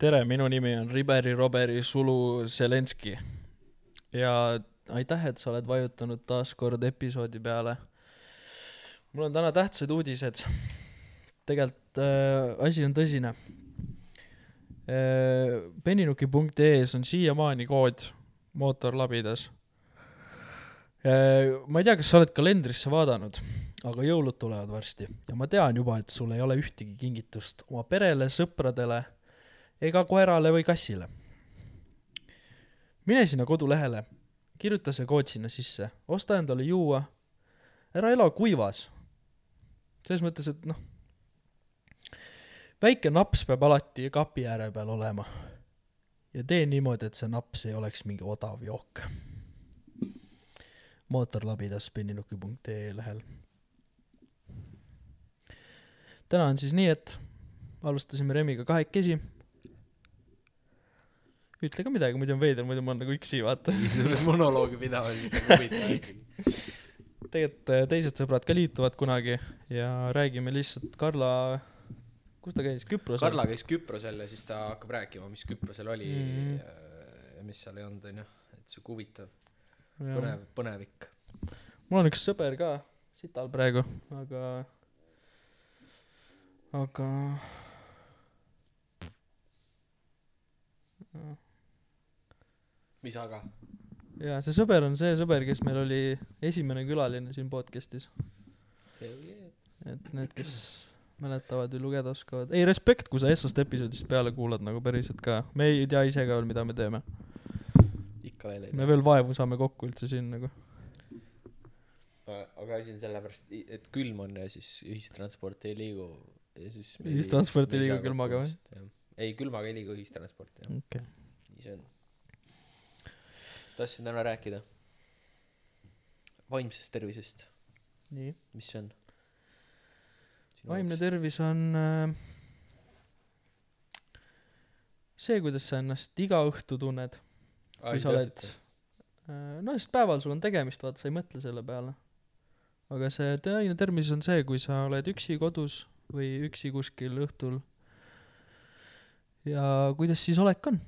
tere , minu nimi on Riberi Roberi Sulu Zelenski ja aitäh , et sa oled vajutanud taas kord episoodi peale . mul on täna tähtsad uudised . tegelikult äh, asi on tõsine äh, . peninuki.ee-s on siiamaani kood mootorlabidas äh, . ma ei tea , kas sa oled kalendrisse vaadanud , aga jõulud tulevad varsti ja ma tean juba , et sul ei ole ühtegi kingitust oma perele , sõpradele ega koerale või kassile . mine sinna kodulehele , kirjuta see kood sinna sisse , osta endale juua , ära ela kuivas . selles mõttes , et noh , väike naps peab alati kapi ääre peal olema . ja tee niimoodi , et see naps ei oleks mingi odav jook . mootorlabidas penninuki.ee lehel . täna on siis nii , et alustasime Remiga kahekesi . ütle ka midagi , muidu on veider , muidu ma olen nagu üksi , vaata . selle monoloogi pidama , siis on huvitav ikkagi . tegelikult äh, teised sõbrad ka liituvad kunagi ja räägime lihtsalt Karla , kus ta käis , Küprosel ? Karla käis Küprosel ja siis ta hakkab rääkima , mis Küprosel oli Mhm. ja mis seal ei olnud , onju . et sihuke huvitav , põnev , põnevik . mul on üks sõber ka sital praegu , aga , aga . mis aga ? ja see sõber on see sõber , kes meil oli esimene külaline siin podcast'is , et need , kes mäletavad või lugeda oskavad , ei respekt , kui sa Essost episoodist peale kuulad nagu päriselt ka , me ei tea ise ka veel , mida me teeme , ikka veel ei me veel vaevu saame kokku üldse siin nagu . tea . aga asi on sellepärast , et külm on ja siis ühistransport ei liigu ja siis . Ühistransport ei liigu külmaga või? ? ei , külmaga ei liigu ühistransport , jah , okei okay. . nii see on . tahtsin täna rääkida vaimsest tervisest , nii . mis see on ? vaimne tervis on äh, see , kuidas sa ennast iga õhtu tunned , kui sa oled , no sest päeval sul on tegemist , vaata , sa ei mõtle selle peale . aga see te- vaimne tervis on see , kui sa oled üksi kodus või üksi kuskil õhtul . ja kuidas siis olek on ?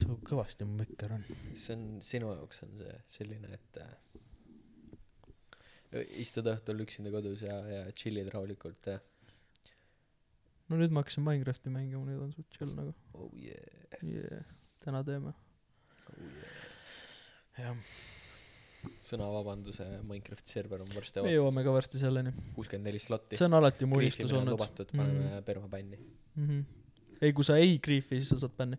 sul kõvasti mu mikk ära on . see on sinu jaoks on see selline , et äh, istud õhtul üksinda kodus ja , ja tšillid rahulikult ja no nüüd ma hakkasin Minecrafti mängima , nüüd on suht chill nagu oh yeah , yeah. . täna teeme . oh yeah . jah , sõnavabanduse Minecrafti server on varsti me avatud , jõuame ka varsti selleni . kuuskümmend neli slotti . see on alati mu unistus kriifimine on olnud . Mhm. lubatud , paneme permabänni . mm . -hmm. ei , kui sa ei kriifi , siis sa saad bänni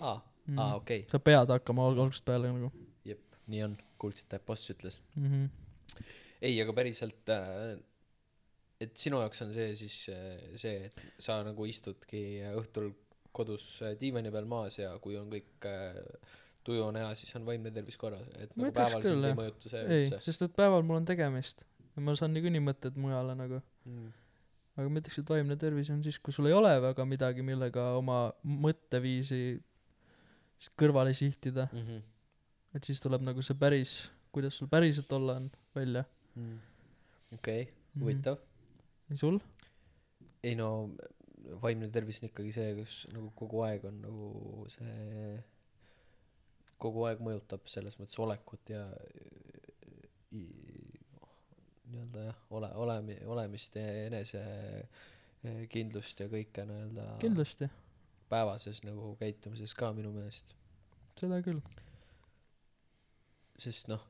aa , mm. aa okei , sa pead hakkama alg- algusest peale nagu nii on , kuulsite , boss ütles . mm . -hmm. ei , aga päriselt äh, , et sinu jaoks on see siis äh, see , et sa nagu istudki õhtul kodus äh, diivani peal maas ja kui on kõik äh, tuju on hea , siis on vaimne tervis korras , et Ma nagu ütleks küll, päeval sind jah. ei mõjuta see ei , üldse . sest et päeval mul on tegemist ja ma saan niikuinii mõtted mujale nagu , aga ma ütleks , et vaimne tervis on siis , kui sul ei ole väga midagi , millega oma mõtteviisi s- kõrvale sihtida , Mhm. et siis tuleb nagu see päris , kuidas sul päriselt olla on , välja . okei , Mhm. huvitav . ja sul ? ei no , vaimne tervis on ikkagi see , kus nagu kogu aeg on nagu see , kogu aeg mõjutab selles mõttes olekut ja i- nii-öelda jah , ole , olemi- , olemist ja enesekindlust ja kõike nii-öelda kindlasti , päevases nagu käitumises ka minu meelest , seda küll . sest noh ,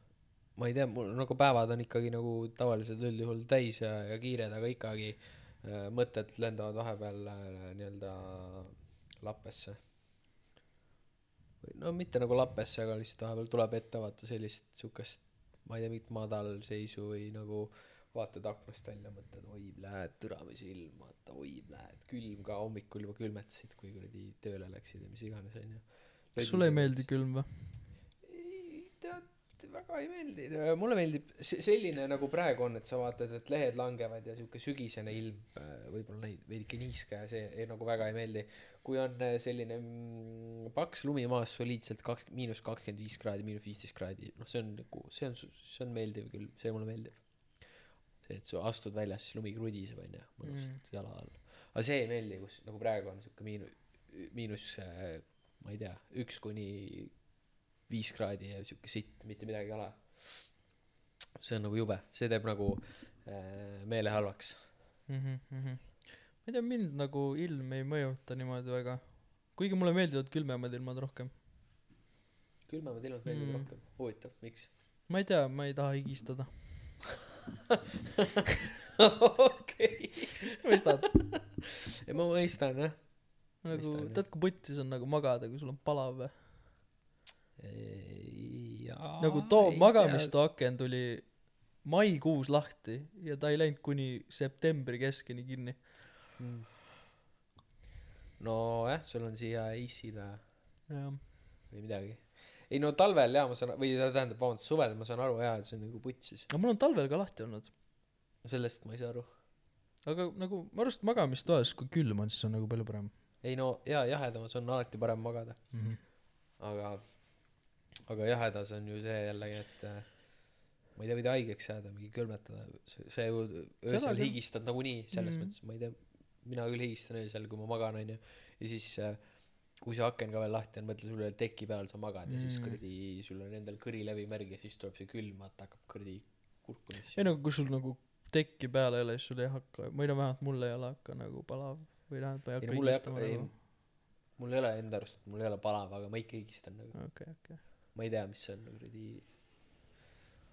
ma ei tea , mul nagu päevad on ikkagi nagu tavaliselt üldjuhul täis ja , ja kiired , aga ikkagi äh, mõtted lendavad vahepeal äh, nii-öelda lappesse . või no mitte nagu lappesse , aga lihtsalt vahepeal tuleb ette vaata sellist siukest , ma ei tea , mingit madalseisu või nagu vaatad aknast välja , mõtled , oi , näed , türamisi ilm , vaata , oi , näed , külm ka , hommikul juba külmetasid , kui kuradi tööle läksid ja mis iganes , onju . kas sulle ei meeldi külm või ? ei tead väga ei meeldi mulle meeldib se- selline nagu praegu on et sa vaatad et lehed langevad ja siuke sügisene ilm äh, võibolla neid veidike niiske ja see ei, nagu väga ei meeldi kui on äh, selline mm, paks lumi maas soliidselt kaks miinus kakskümmend viis kraadi miinus viisteist kraadi noh see on nagu see on su- see on meeldiv küll see mulle meeldib see et sa astud väljas siis lumi krudiseb onju mõnusalt mm. jala all aga see ei meeldi kus nagu praegu on siuke miinus miinus äh, ma ei tea üks kuni viis kraadi ja siuke sitt mitte midagi ei ole see on nagu jube see teeb nagu äh, meele halvaks Mhm, mhmh mhmh ma ei tea mind nagu ilm ei mõjuta niimoodi väga kuigi mulle meeldivad külmemad ilmad rohkem külmemad ilmad meeldivad Mm. mm. rohkem huvitav miks ma ei tea ma ei taha higistada okei mõistad ei ma mõistan jah nagu Mõistan, jah. tead kui putsi see on nagu magada kui sul on palav või Jaa, nagu too ei tea. magamistoa aken tuli maikuus lahti ja ta ei läinud kuni septembri keskeni kinni Mm. nojah sul on siia IC-le jah või midagi ei no talvel jaa ma saan või tähendab vabandust suvel ma saan aru jaa et see on nagu putsis aga mul on talvel ka lahti olnud sellest ma ei saa aru aga nagu ma arvan et magamistoas kui külm on siis on nagu palju parem ei no jaa jahedamas on alati parem magada mhmh aga aga jahedas on ju see jällegi et äh, ma ei tea võid haigeks jääda mingi külmetada see see ju Seda öösel küll. higistad nagunii selles Mhm. mm. mõttes ma ei tea mina küll higistan öösel kui ma magan onju ja siis äh, kui see aken ka veel lahti on mõtle sul veel teki peal sa magad mm. ja siis Mm. kuradi sul on endal kõrilevimärg ja siis tuleb see külm vaata hakkab kuradi kurku ei sisse no kui sul nagu tekki peal ei ole siis sul ei hakka või no vähemalt mul ei ole hakka nagu palav või tähendab ma ei ei hakka no mul higistama ei hakka ei nagu mul ei ole enda arust mul ei ole palav aga ma ikka higistan nagu okei okei ma ei tea , mis see on kuradi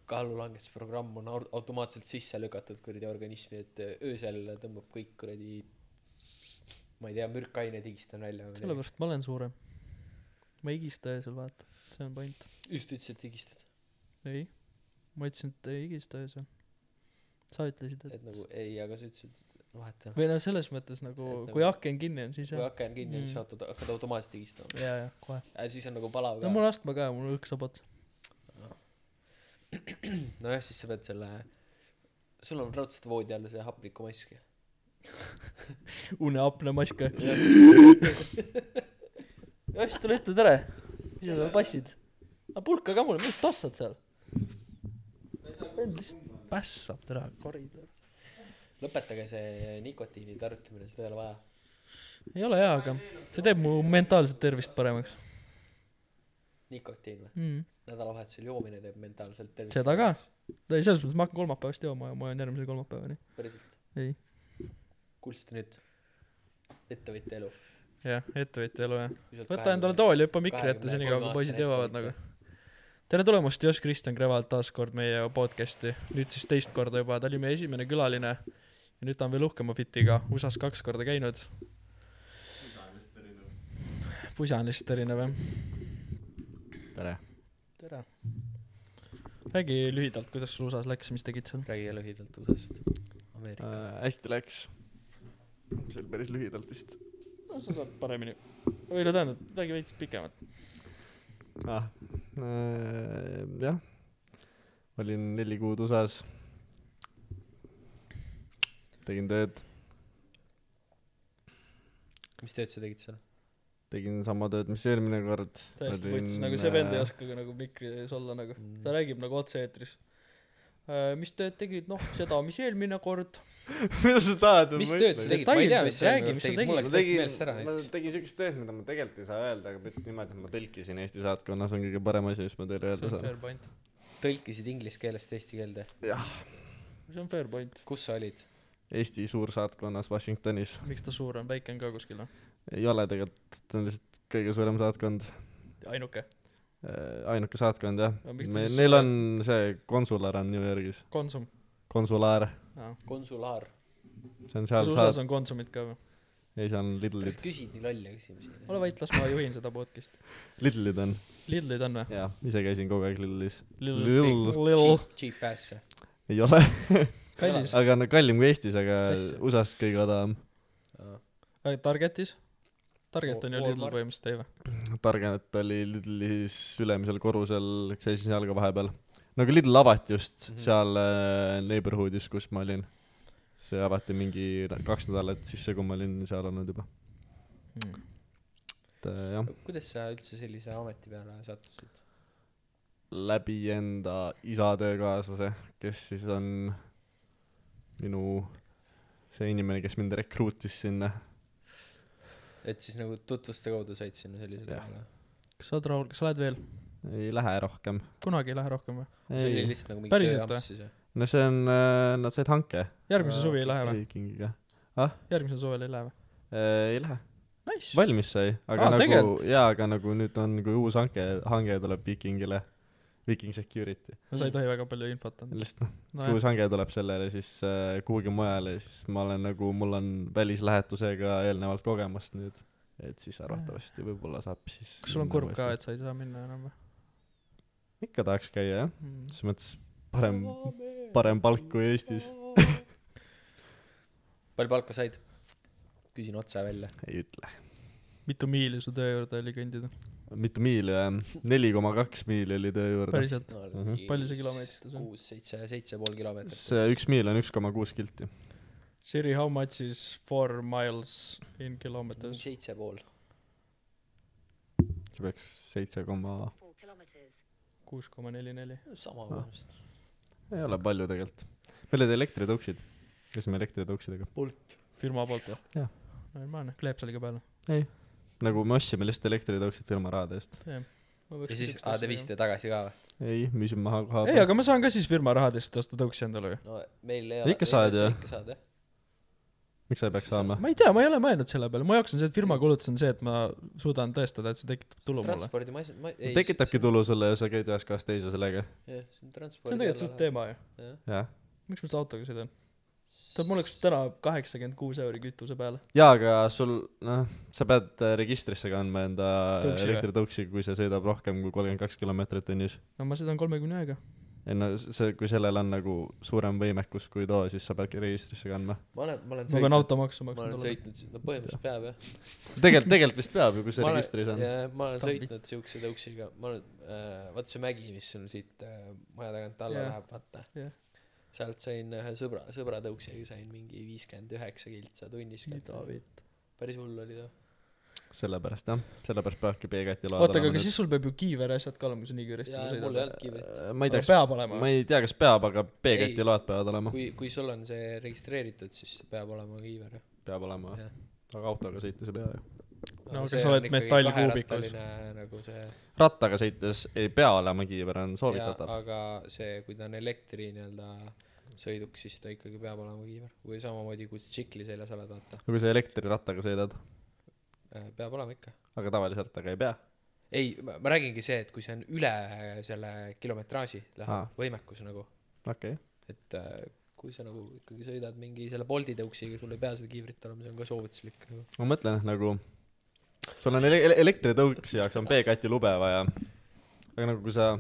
kaalulangetusprogramm on au- automaatselt sisse lükatud kuradi organismi , et äh, öösel tõmbab kõik kuradi ma ei tea , mürkained higistan välja või midagi. sellepärast ma olen suurem ma ei higista öösel vaata see on point just ütlesid , et higistad , ei ma ütlesin et ei higista öösel sa ütlesid et, et nagu ei , aga sa ütlesid , noh et jah. või no selles mõttes nagu Et nagu- kui aken kinni on siis kui jah aken kinni on , Mm. siis hakkad , hakkad automaatselt higistama . jaa jaa kohe siis on nagu palav no ka . mul on astma ka ja mul õhk saab otsa nojah , siis sa pead selle , sul on raudselt voodi all see hapnikumask ju . uneapnemask või ja siis tule ütle tere ise sa passid aga pulka ka mulle mis tassad seal vend lihtsalt pässab täna koridor lõpetage see nikotiini tarvitamine , seda ei ole vaja . ei ole hea aga see teeb mu mentaalset tervist paremaks nikotiin või ? mm. nädalavahetusel joomine teeb mentaalselt tervist . Seda ka. ei selles mõttes ma hakkan kolmapäevast jooma ja ma joon järgmise kolmapäevani päriselt ei kuulsite nüüd ettevõtja elu jah ettevõtja elu jah võta endale tool ja hüppa mikri ette senikaua kui poisid jõuavad nagu tere tulemast , Joss Kristjan Krevalt taas kord meie podcasti , nüüd siis teist korda juba , ta oli meie esimene külaline ja nüüd ta on veel uhkema fitiga , USA-s kaks korda käinud . pusa on lihtsalt erinev jah . tere tere . räägi lühidalt , kuidas sul USA-s läks , mis tegid seal ? räägi lühidalt USA-st Ameerika äh, . hästi läks . see oli päris lühidalt vist no sa saad paremini . või no tähendab , räägi veits pikemalt . ah, . Äh, jah , olin neli kuud USA-s . tegin tööd , mis tööd sa tegid seal tegin sama tööd , mis eelmine kord . täiesti võttis , nagu see vend ei oska ka nagu mikri ees olla nagu , ta räägib nagu otse-eetris . mis tööd tegid , noh , seda , mis eelmine kord . mida sa tahad ? mis tööd sa tegid? tegid ma ei tea mis sa Detailselt räägi, räägi mis mis sa sa tegid mul ma läks täiesti tegin meelest ära , ma näiteks tegin siukest tööd , mida ma tegelikult ei saa öelda , aga mitte niimoodi , et ma tõlkisin Eesti saatkonnas ongi kõige parem asi , mis ma teile see öelda on saan . fair point . tõlkisid inglise keelest eesti keelde jah , see on fair point . kus sa olid Eesti suursaatkonnas Washingtonis miks ta suur on , väike on ka kuskil noh. või ? ei ole tegelikult , ta on lihtsalt kõige suurem saatkond , ainuke . Äh, ainuke saatkond jah . Aga miks ta siis Neil on see konsulaar on New Yorgis , Konsum . konsulaar , konsulaar see on kas seal USA-s saat- , on Konsumit ka või ? ei seal on kas Lidlid , küsid nii lolle küsimusi ole vait , las ma juhin seda podcast'i . Lidlid on , Lidlid on või ? jaa , ise käisin kogu aeg Lidlis , Lil- Lil- , Lil , Cheap- cheap ass jah ei ole , kallis . aga no kallim kui Eestis , aga Mis asja? USA-s kõige odavam , Äh, Targetis ? Target Wa- on ju Lidl Walmart. põhimõtteliselt , ei või ? targenet oli Lidlis ülemisel korrusel , seisin seal ka vahepeal , no aga Lidl avati just Mhm. seal äh, neighborhood'is , kus ma olin , see avati mingi kaks nädalat sisse , kui ma olin seal olnud juba , Hmm. et äh, jah . kuidas sa üldse sellise ameti peale sattusid läbi enda isa töökaaslase , kes siis on minu see inimene , kes mind rekruutis sinna . et siis nagu tutvuste kaudu said sinna sellisele Jah. kohale kas sa oled rahul , kas sa lähed veel ? ei lähe rohkem . kunagi ei lähe rohkem või ? see oli lihtsalt nagu mingi Päriselt tööamps või? siis või no see on , nad said hanke järgmise Aa, suvi Äh, ei lähe või ? Viikingiga . järgmisel suvel ei lähe või ? ei lähe . Nice . valmis sai , aga Aa, ah, nagu tegelikult? , jaa , aga nagu nüüd on , kui uus hange , hange tuleb Viikingile , Viiking Security . no sa ei tohi väga palju infot anda . lihtsalt noh , kui nojah , uus hange tuleb sellele , siis äh, kuhugi mujale , siis ma olen nagu , mul on välislähetusega eelnevalt kogemust nüüd . et siis arvatavasti võib-olla saab siis . kas sul on kurb ka ,? et sa ei saa minna enam või ikka tahaks käia jah , mm. ? selles mõttes parem , parem palk kui Eestis . palju palka said küsin otse välja ei ütle . mitu miili su töö juurde oli kõndida ? mitu miili või ? neli koma kaks miili oli töö juurde . päriselt ? Mhm. Palju see kilomeetris on? kuus seitse seitse pool kilomeetrit see üks miil on üks koma kuus kilti . Siri , how much is four miles in kilometers ? seitse pool see peaks seitse koma , Four kilometers. kuus koma neli neli . sama Ah. vist ei ole palju tegelikult . meil olid elektritõuksid . käisime elektritõuksidega . firma poolt või ? Jah. . normaalne , kleeps oli ka peal . nagu me ostsime lihtsalt elektritõuksid firma rahade eest . ja siis aa te viisite tagasi ka või ei , müüsime maha koha ei , aga ma saan ka siis firma rahadest osta tõuksi endale ju . no meil ei ole- ole Ikka saad ju. ikka saad jah miks sa ei peaks saama ? ma ei tea , ma ei ole mõelnud selle peale , mu jaoks on see , et firma kulutus on see , et ma suudan tõestada , et see tekitab tulu mulle . transpordimasin ma ei tekitabki tulu sulle ja sa käid ühest kohast teise sellega . jah see on transpordi see on tegelikult suht teema ju . jah jah . miks ma seda autoga sõidan ? tead , mul läks täna kaheksakümmend kuus euri kütuse peale . jaa , aga sul , noh , sa pead äh, registrisse kandma enda Tõuksi või? elektritõuksi , kui see sõidab rohkem kui kolmkümmend kaks kilomeetrit tunnis . no ma sõidan kolmekümne ühega . ei no see , kui sellel on nagu suurem võimekus kui too , siis sa peadki registrisse kandma . ma olen ma olen ma pean automaksu ma maksma olen talle . sõitnud si- no põhimõtteliselt peab jah tegelikult , tegelikult vist peab ju , kui see ma registris on . jaa, ma olen Tambi. sõitnud siukse tõuksiga ma olen äh, vaat see mägi mis sul siit äh, maja tagant alla Jah. läheb vaata Jah. sealt sain ühe sõbra sõbra tõuksiga sain mingi viiskümmend üheksa kiltsa tunnis mida vitt . päris hull oli too sellepärast jah , sellepärast peabki B-kati load oota , aga kas siis sul peab ju kiiver ja asjad ka olema , kui sa nii kiiresti jaa mul ei sõidad ? olnud kiivrit Äh, ma ei tea , aga kas , peab olema ma ? ei tea , kas peab , aga Ei. B-kati load peavad olema . kui kui sul on see registreeritud siis peab olema kiiver jah peab olema Jah. , aga autoga sõites ei pea ju . No Aga aga see sa on oled ikkagi metallkuubikus. kaherattaline nagu see rattaga sõites ei pea olema kiiver , on soovitatav jaa , aga see kui ta on elektri niiöelda sõiduks siis ta ikkagi peab olema kiiver või samamoodi kui sa tšikli seljas oled vaata aga kui sa elektrirattaga sõidad , Äh, peab olema ikka aga tavalise rattaga ei pea . ei ma ma räägingi see et kui see on üle selle kilometraaži läheb Aa. võimekus nagu okei okay. , et äh, kui sa nagu ikkagi sõidad mingi selle Bolti tõuksiga sul ei pea seda kiivrit olema see on ka soovituslik nagu ma mõtlen , et nagu sul on ele- , ele- elektritõuksi jaoks on B-kati lube vaja , aga nagu kui sa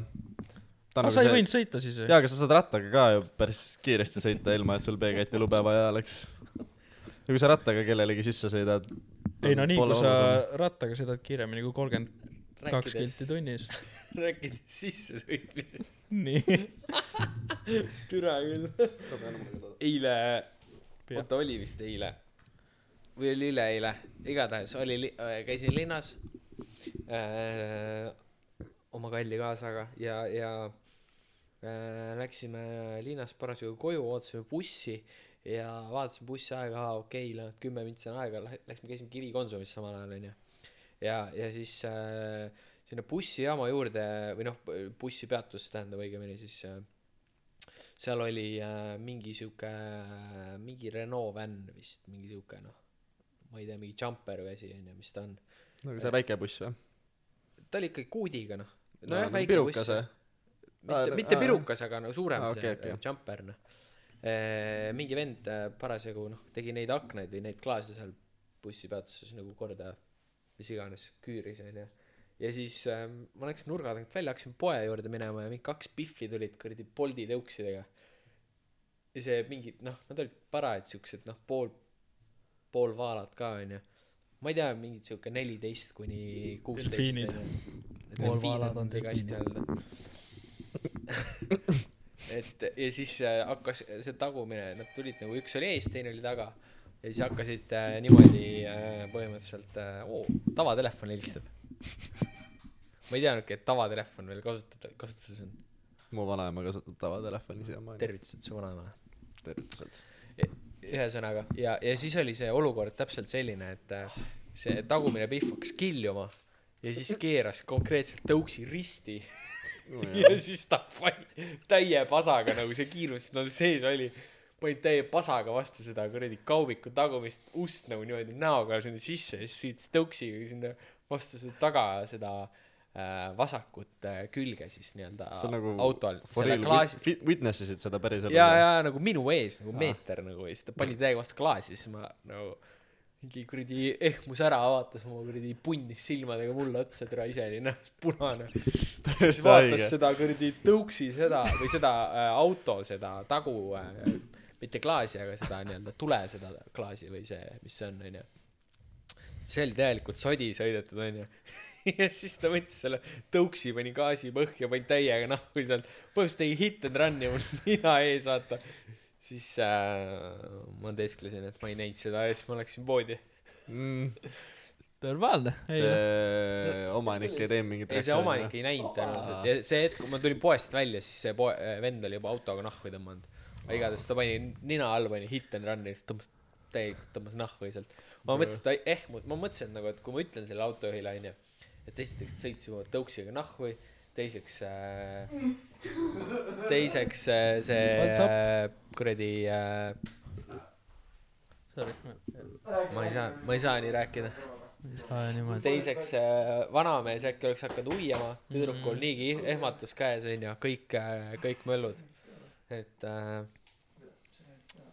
aga ta on nagu sa ei see- võinud sõita siis eh? ju ? jaa , aga sa saad rattaga ka ju päris kiiresti sõita , ilma et sul B-kati lube vaja oleks . ja kui sa rattaga kellelegi sisse sõidad . ei no nii , kui sa rattaga sõidad kiiremini kui kolmkümmend kaks kilti rääkides tunnis . rääkides sissesõitmisest nii . türa küll eile Pea. oota oli vist eile või oli üleeile igatahes oli li- äh, käisin linnas äh, oma kalli kaasaga ja ja äh, läksime linnast parasjagu koju ootasime bussi ja vaatasin bussi aega aa okei okay, kümme mintsi on aega lä- läksime käisime Kivi Konsumis samal ajal onju ja ja siis äh, sinna bussijaama juurde või noh p- bussipeatus tähendab õigemini siis äh, seal oli äh, mingi sihuke mingi Renault van vist mingi sihuke noh ma ei tea mingi jumper või asi onju mis ta on nagu see väike buss või ? ta oli ikkagi kuudiga noh nojah nagu väike pirukas buss või? Aa, mitte no- mitte aa. pirukas aga no suurem Aa, see okei, okei. äh, jumper noh Eee, mingi vend äh, parasjagu noh tegi neid aknaid või neid klaase seal bussipeatuses nagu korda mis iganes küüris onju ja siis äh, ma läksin nurga tagant välja hakkasin poe juurde minema ja mingi kaks pihvi tulid kuradi Bolti tõuksidega ja see mingi noh nad olid parajad siuksed noh pool poolvaalad ka onju ma ei tea mingid siuke neliteist kuni Delfiinid. kuusteist Poolvaalad on delfiinid et ja siis äh, hakkas see tagumine nad tulid nagu üks oli ees teine oli taga ja siis hakkasid äh, niimoodi äh, põhimõtteliselt äh, oo tavatelefon helistab ma ei teadnudki et tavatelefon veel kasutada kasutuses on mu vanaema kasutab tavatelefoni siiamaani . tervitused su vanaemale tervitused . ja, ühesõnaga ja , ja siis oli see olukord täpselt selline , et äh, see tagumine Pihv hakkas kiljuma ja siis keeras konkreetselt tõuksi risti Oh, ja siis ta pani täie pasaga nagu see kiirus no sees oli , pani täie pasaga vastu seda kuradi kaubiku tagumist ust nagu niimoodi näoga sinna sisse ja siis sõitis tõuksiga sinna vastu seda taga seda äh, vasakut äh, külge siis nii-öelda see on nagu auto all , for selle real klaasi , wit- , witness isid seda päriselt ja , ja nagu minu ees nagu meeter nagu ja siis ta pani täiega vastu klaasi , siis ma nagu mingi kuradi ehmus ära , vaatas oma kuradi punnis silmadega mulle otsa , türa ise oli näost punane . siis täiesti vaatas haige seda kuradi tõuksi seda või seda äh, auto seda tagu äh, , mitte klaasi , aga seda nii-öelda tule seda klaasi või see , mis see on , onju . see oli täielikult sodi sõidetud , onju . ja siis ta võttis selle tõuksi , pani gaasi põhja , pani täiega nahku sealt , põhimõtteliselt tegi hit and run'i must nina ees , vaata . siis äh, ma tesklesin , et ma ei näinud seda ja siis ma läksin poodi . mm, normaalne , ei noh . see omanik ei teinud mingit ei , see omanik ei näinud tõenäoliselt ja see hetk , kui ma tulin poest välja , siis see poe- , vend oli juba autoga nahku tõmmanud . aga igatahes ta pani nina all , pani hit and run'i , siis tõmbas , täielikult tõmbas nahku sealt . ma mõtlesin , et ta ehmus , ma mõtlesin nagu , et kui ma ütlen sellele autojuhile , onju , et esiteks ta sõitis juba tõuksiga nahku , teiseks äh, , teiseks äh, see What's up? äh, kuradi äh, , Sorry , ma ei saa , ma ei saa nii rääkida . ma ei saa niimoodi . teiseks äh, vanamees äkki oleks hakanud uiama , tüdrukul mm. niigi ehmatus käes onju , kõik , kõik möllud . et äh,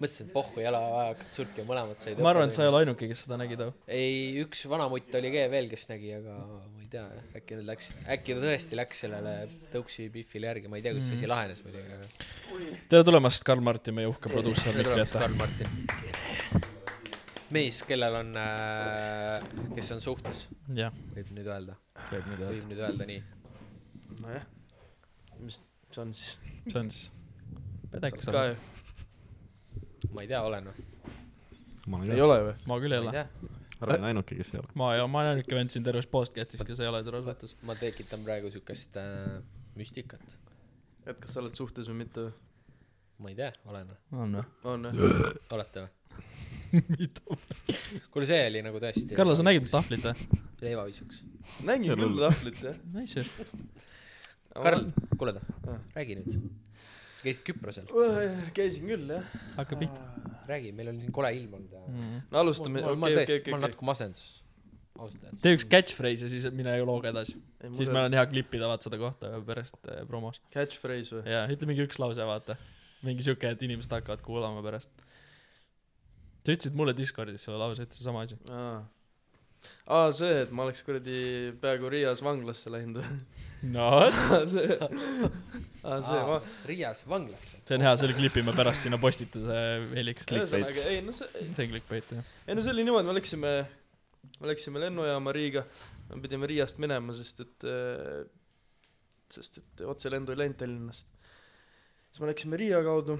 mõtlesin , et pohhu jala hakkad surkima , mõlemad said . ma arvan , et sa ei ole ainuke , kes seda nägi too . ei , üks vanamutt oli ka veel , kes nägi , aga ma ei tea , äkki nad läksid , äkki ta tõesti läks sellele tõuksi Biffile järgi , ma ei tea , kuidas Mm. see asi lahenes muidugi , aga . tere tulemast , Karl Martin , meie uhke produussor , tere Mikk tulemast , Jätta . Karl Martin . mees , kellel on äh, , kes on suhtes , jah , võib nüüd öelda , käib nüüd jah . võib nüüd öelda nii . nojah mis see on siis see on siis , pädeks ka on . ju ma ei tea , olen või ? ma ei ole või ? ma küll ei ma ei ole . tea . olen ainuke kes ei ole ma ei ole , ma olen ainuke vend siin terves podcast'is , kes ei ole tore suhtes . ma tekitan praegu siukest äh, müstikat , et kas sa oled suhtes või mitte või ? ma ei tea , olen või , on või ? on jah ? olete või ? kuule , see oli nagu tõesti . Karl , sa nägid mu tahvlit või ? leivaviisuks . nägin Jaa, küll lull. tahvlit jah . Nice . Karl , kuule ta Ah. , räägi nüüd . sa käisid Küprosel , käisin küll jah . hakka pihta . Mm. räägi , meil on siin kole ilm olnud ja . no Mm. alustame , ma olen okei , okei , tõesti , ma olen okei , natuke masenduses , ausalt öeldes . tee üks catchphrase ja siis mine looga edasi . siis meil okei . on hea klippida , vaata seda kohta pärast äh, promos . Catchphrase või ? jaa , ütle mingi üks lause , vaata . mingi siuke , et inimesed hakkavad kuulama pärast . sa ütlesid mulle Discordis selle lause , ütlesid sama asi . aa , aa , see , et ma oleks kuradi peaaegu Riias vanglasse läinud või ? no vot , aa , see , aa , see , ma , Riias vanglasse . see on hea , selle klipime pärast sinna postituse heliks . see ühesõnaga , ei no see , on clickbait jah . ei no see oli niimoodi , me läksime , me läksime lennujaama Riiga , me pidime Riiast minema , sest et , sest et otselendu ei läinud Tallinnast . siis me läksime Riia kaudu ,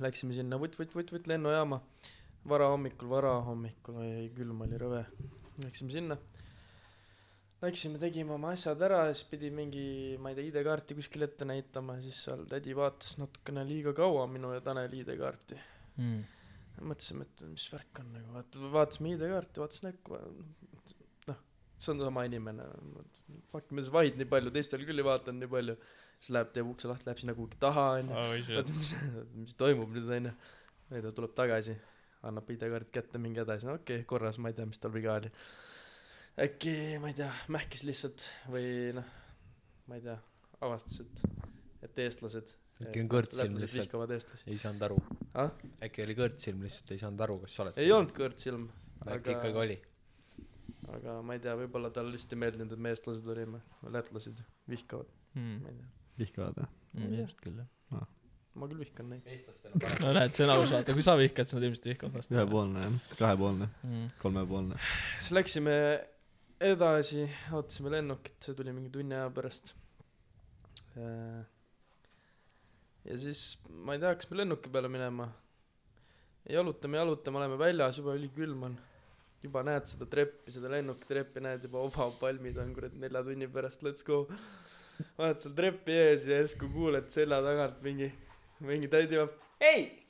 läksime sinna vutt-vutt-vutt-vutt lennujaama , varahommikul , varahommikul , oi külm oli rõve , läksime sinna . Läksime , tegime oma asjad ära ja siis pidi mingi , ma ei tea , ID-kaarti kuskil ette näitama ja siis seal tädi vaatas natukene liiga kaua minu ja Taneli ID-kaarti . Hmm. mõtlesime , et mis värk on nagu , vaata , vaatasime ID-kaarti , vaatas näkku , noh , see on sama inimene , fuck , me vaid nii palju , teistel küll ei vaadanud nii palju , siis läheb , teeb ukse lahti , läheb sinna kuhugi taha , Ah, onju , oi , vaata , mis , mis toimub nüüd , onju , ei ta tuleb tagasi , annab ID-kaardid kätte , minge edasi , no okei okay, , korras , ma ei tea , mis tal viga oli . äkki , ma ei tea , mähkis lihtsalt või noh , ma ei tea , avastas , et , et eestlased , äkki on kõrtsilm lätlased lihtsalt , vihkavad eestlasi . ei saanud aru Ah? . äkki oli kõrtsilm lihtsalt , ei saanud aru , kas sa oled . ei . olnud kõrtsilm , äkki aga- ikkagi oli . aga ma ei tea , võib-olla talle lihtsalt ei meeldinud , et me eestlased olime , lätlased vihkavad , ma ei tea , vihkavad jah Hmm. ilmselt küll jah . ma küll vihkan neid . eestlastel on parem . no näed , see on aus , vaata , kui sa vihkad , siis nad ilmselt vihkavad vastu . ühepoolne jah kahepoolne Mm. kolmepoolne siis läksime edasi , ootasime lennukit , see tuli mingi tunni aja pärast . ja siis ma ei tea , hakkasime lennuki peale minema . jalutame , jalutame , oleme väljas juba , ülikülm on . juba näed seda treppi , seda lennuki treppi näed juba , obapalmid on kurat nelja tunni pärast , let's go . oled seal trepi ees ja järsku kuuled selja tagant mingi , mingi tädi vaatab , ei ,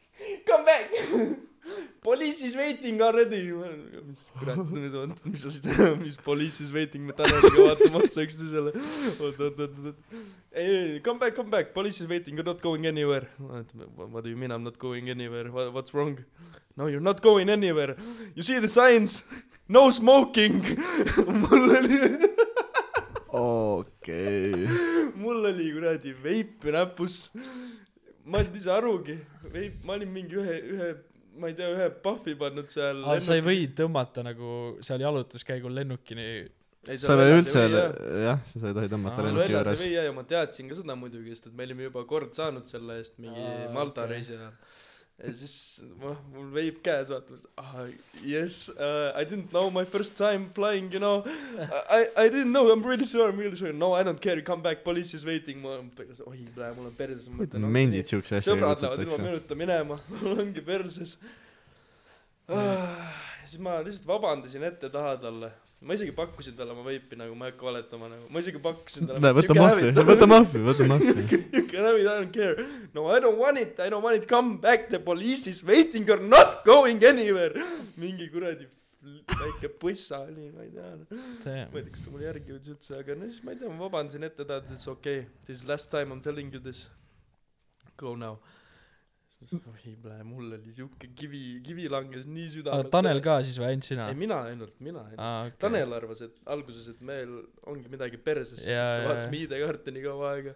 Come back Police is waiting already Ma olen, mis kurat nüüd on mis sa siis mis police is waiting me täna vaatame otsa üksteisele oot oot oot oot ei ei come back come back police is waiting you are not going anywhere Ma ütlen, "Wha- what do you mean I am not going anywhere Wha- what's wrong no you are not going anywhere you see the signs no smoking mul oli okei . mul oli kuradi veip näpus ma ei saanud ise arugi veip ma olin mingi ühe ühe ma ei tea ühe puhvi pannud seal aa , Ah, sa ei või tõmmata nagu seal jalutuskäigul lennukini . sa ei või üldse , jah , sa ei tohi Aa, tõmmata seal lennuki väljas ei juures . või jah ja ma teadsin ka seda muidugi sest et me olime juba kord saanud selle eest mingi Aa, okei. Malta okay. reisi ajal ja siis noh mul veip käes vaata ma ütlesin ah yes uh, I didn't know my first time flying you know I I didn't know I m really sure I m really sure no I don't care come back police is waiting ma oi praegu mul on perses ma mõtlen mendid siukse asjaga sõbrad lähevad ilma kutsutakse . minuta minema , mul ongi perses . siis ma lihtsalt vabandasin ette taha talle , ma isegi pakkusin talle oma veipi nagu , ma ei hakka valetama nagu , ma isegi pakkusin talle . näe , võta mahvi , võta mahvi , võta mahvi . You can have it , I don't care . No I don't want it , I don't want it , come back , the police is waiting , you are not going anywhere . mingi kuradi väike põssa oli , ma ei tea ma ei tea , kas ta mulle järgi jõudis üldse , aga no siis ma ei tea , ma vabandasin ette , ta ütles okei okay, , this is last time I m telling you this , go now . siis ma ütlesin , oi plee , mul oli siuke kivi , kivi langes nii aga südamele . Tanel ka siis või , ainult sina ei ,? mina ainult , mina ainult . aa , okei . Tanel arvas , et alguses , et meil ongi midagi perses , siis Jaa, jaa, me vaatasime ID-kaarte nii kaua aega .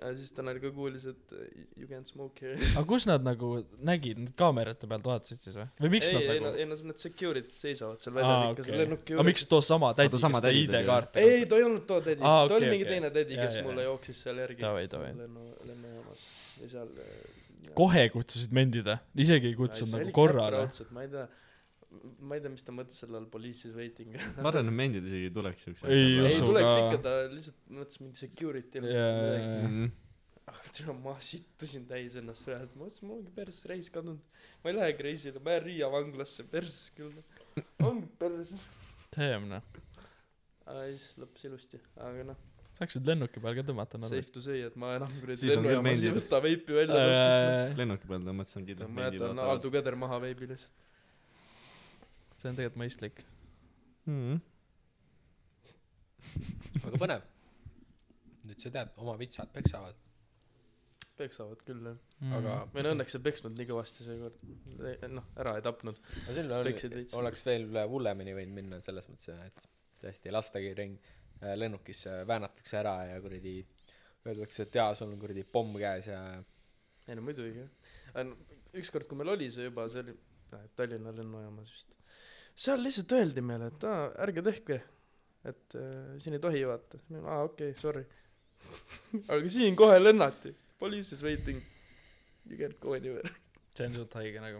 ja siis Tanel ka kuulis , et you can't smoke here . aga kus nad nagu nägid , nad kaamerate pealt vaatasid siis või ? või miks ei , ei nad nad , nagu ? ei nad , need secure'id seisavad seal aa , väljas ikka , seal okei . lennuki aga miks too sama tädi , Oota, sama kes ta tädi tuli, ID-kaarti ei , ta ei olnud too tädi Aa, ah, , okei, ta oli mingi okei. teine tädi , Jaa, kes jaa, mulle jaa. jooksis seal järgi Davai, seal davai. lennu , lennujaamas ja seal äh, kohe kutsusid vendid või ? isegi ei kutsunud nagu korrale . raudselt , ma ei tea , ma ei tea , mis ta mõtles selle all police is waiting ma arvan , et mendid isegi ei tuleks siukse Ei ei usu tuleks ka. ikka , ta lihtsalt mõtles mingi security Jaa, ilmselt või midagi jaa, Mhm. aga tule ma sittusin täis ennast reaalselt , ma mõtlesin , mul ongi päris reis kadunud ma ei lähegi reisile , ma jään Riia vanglasse perses küll ongi perses Damn noh , aga siis lõppes ilusti aga noh saaksid lennuki peal ka tõmmata nad . Äh, safe to say et ma enam kuradi Siis on küll lennujaamas ei meeldiv. võta veipi välja noh. kuskilt lennuki peal tõmmata , see on kindlalt ma mendid jätan vaatavad Aldo Keder maha veebilis see on tegelikult mõistlik . Mhm. väga põnev . nüüd sa tead , oma vitsad peksavad , peksavad küll jah Mm. aga . või no õnneks ei peksnud nii kõvasti seekord Ei- noh ära ei tapnud no sinna Peksid oli veits. , oleks veel hullemini võinud minna selles mõttes , et tõesti lastagi ring , lennukis äh, väänatakse ära ja kuradi öeldakse , et jaa , sul on kuradi pomm käes ja ei no muidugi jah Aga no ükskord kui meil oli see juba see oli noh et Tallinna lennujaamas vist seal lihtsalt öeldi meile et aa ärge tehke et äh, siin ei tohi vaata siis me aa okei okay, sorry aga siin kohe lennati police is waiting you can't go anywhere see on suht haige nagu .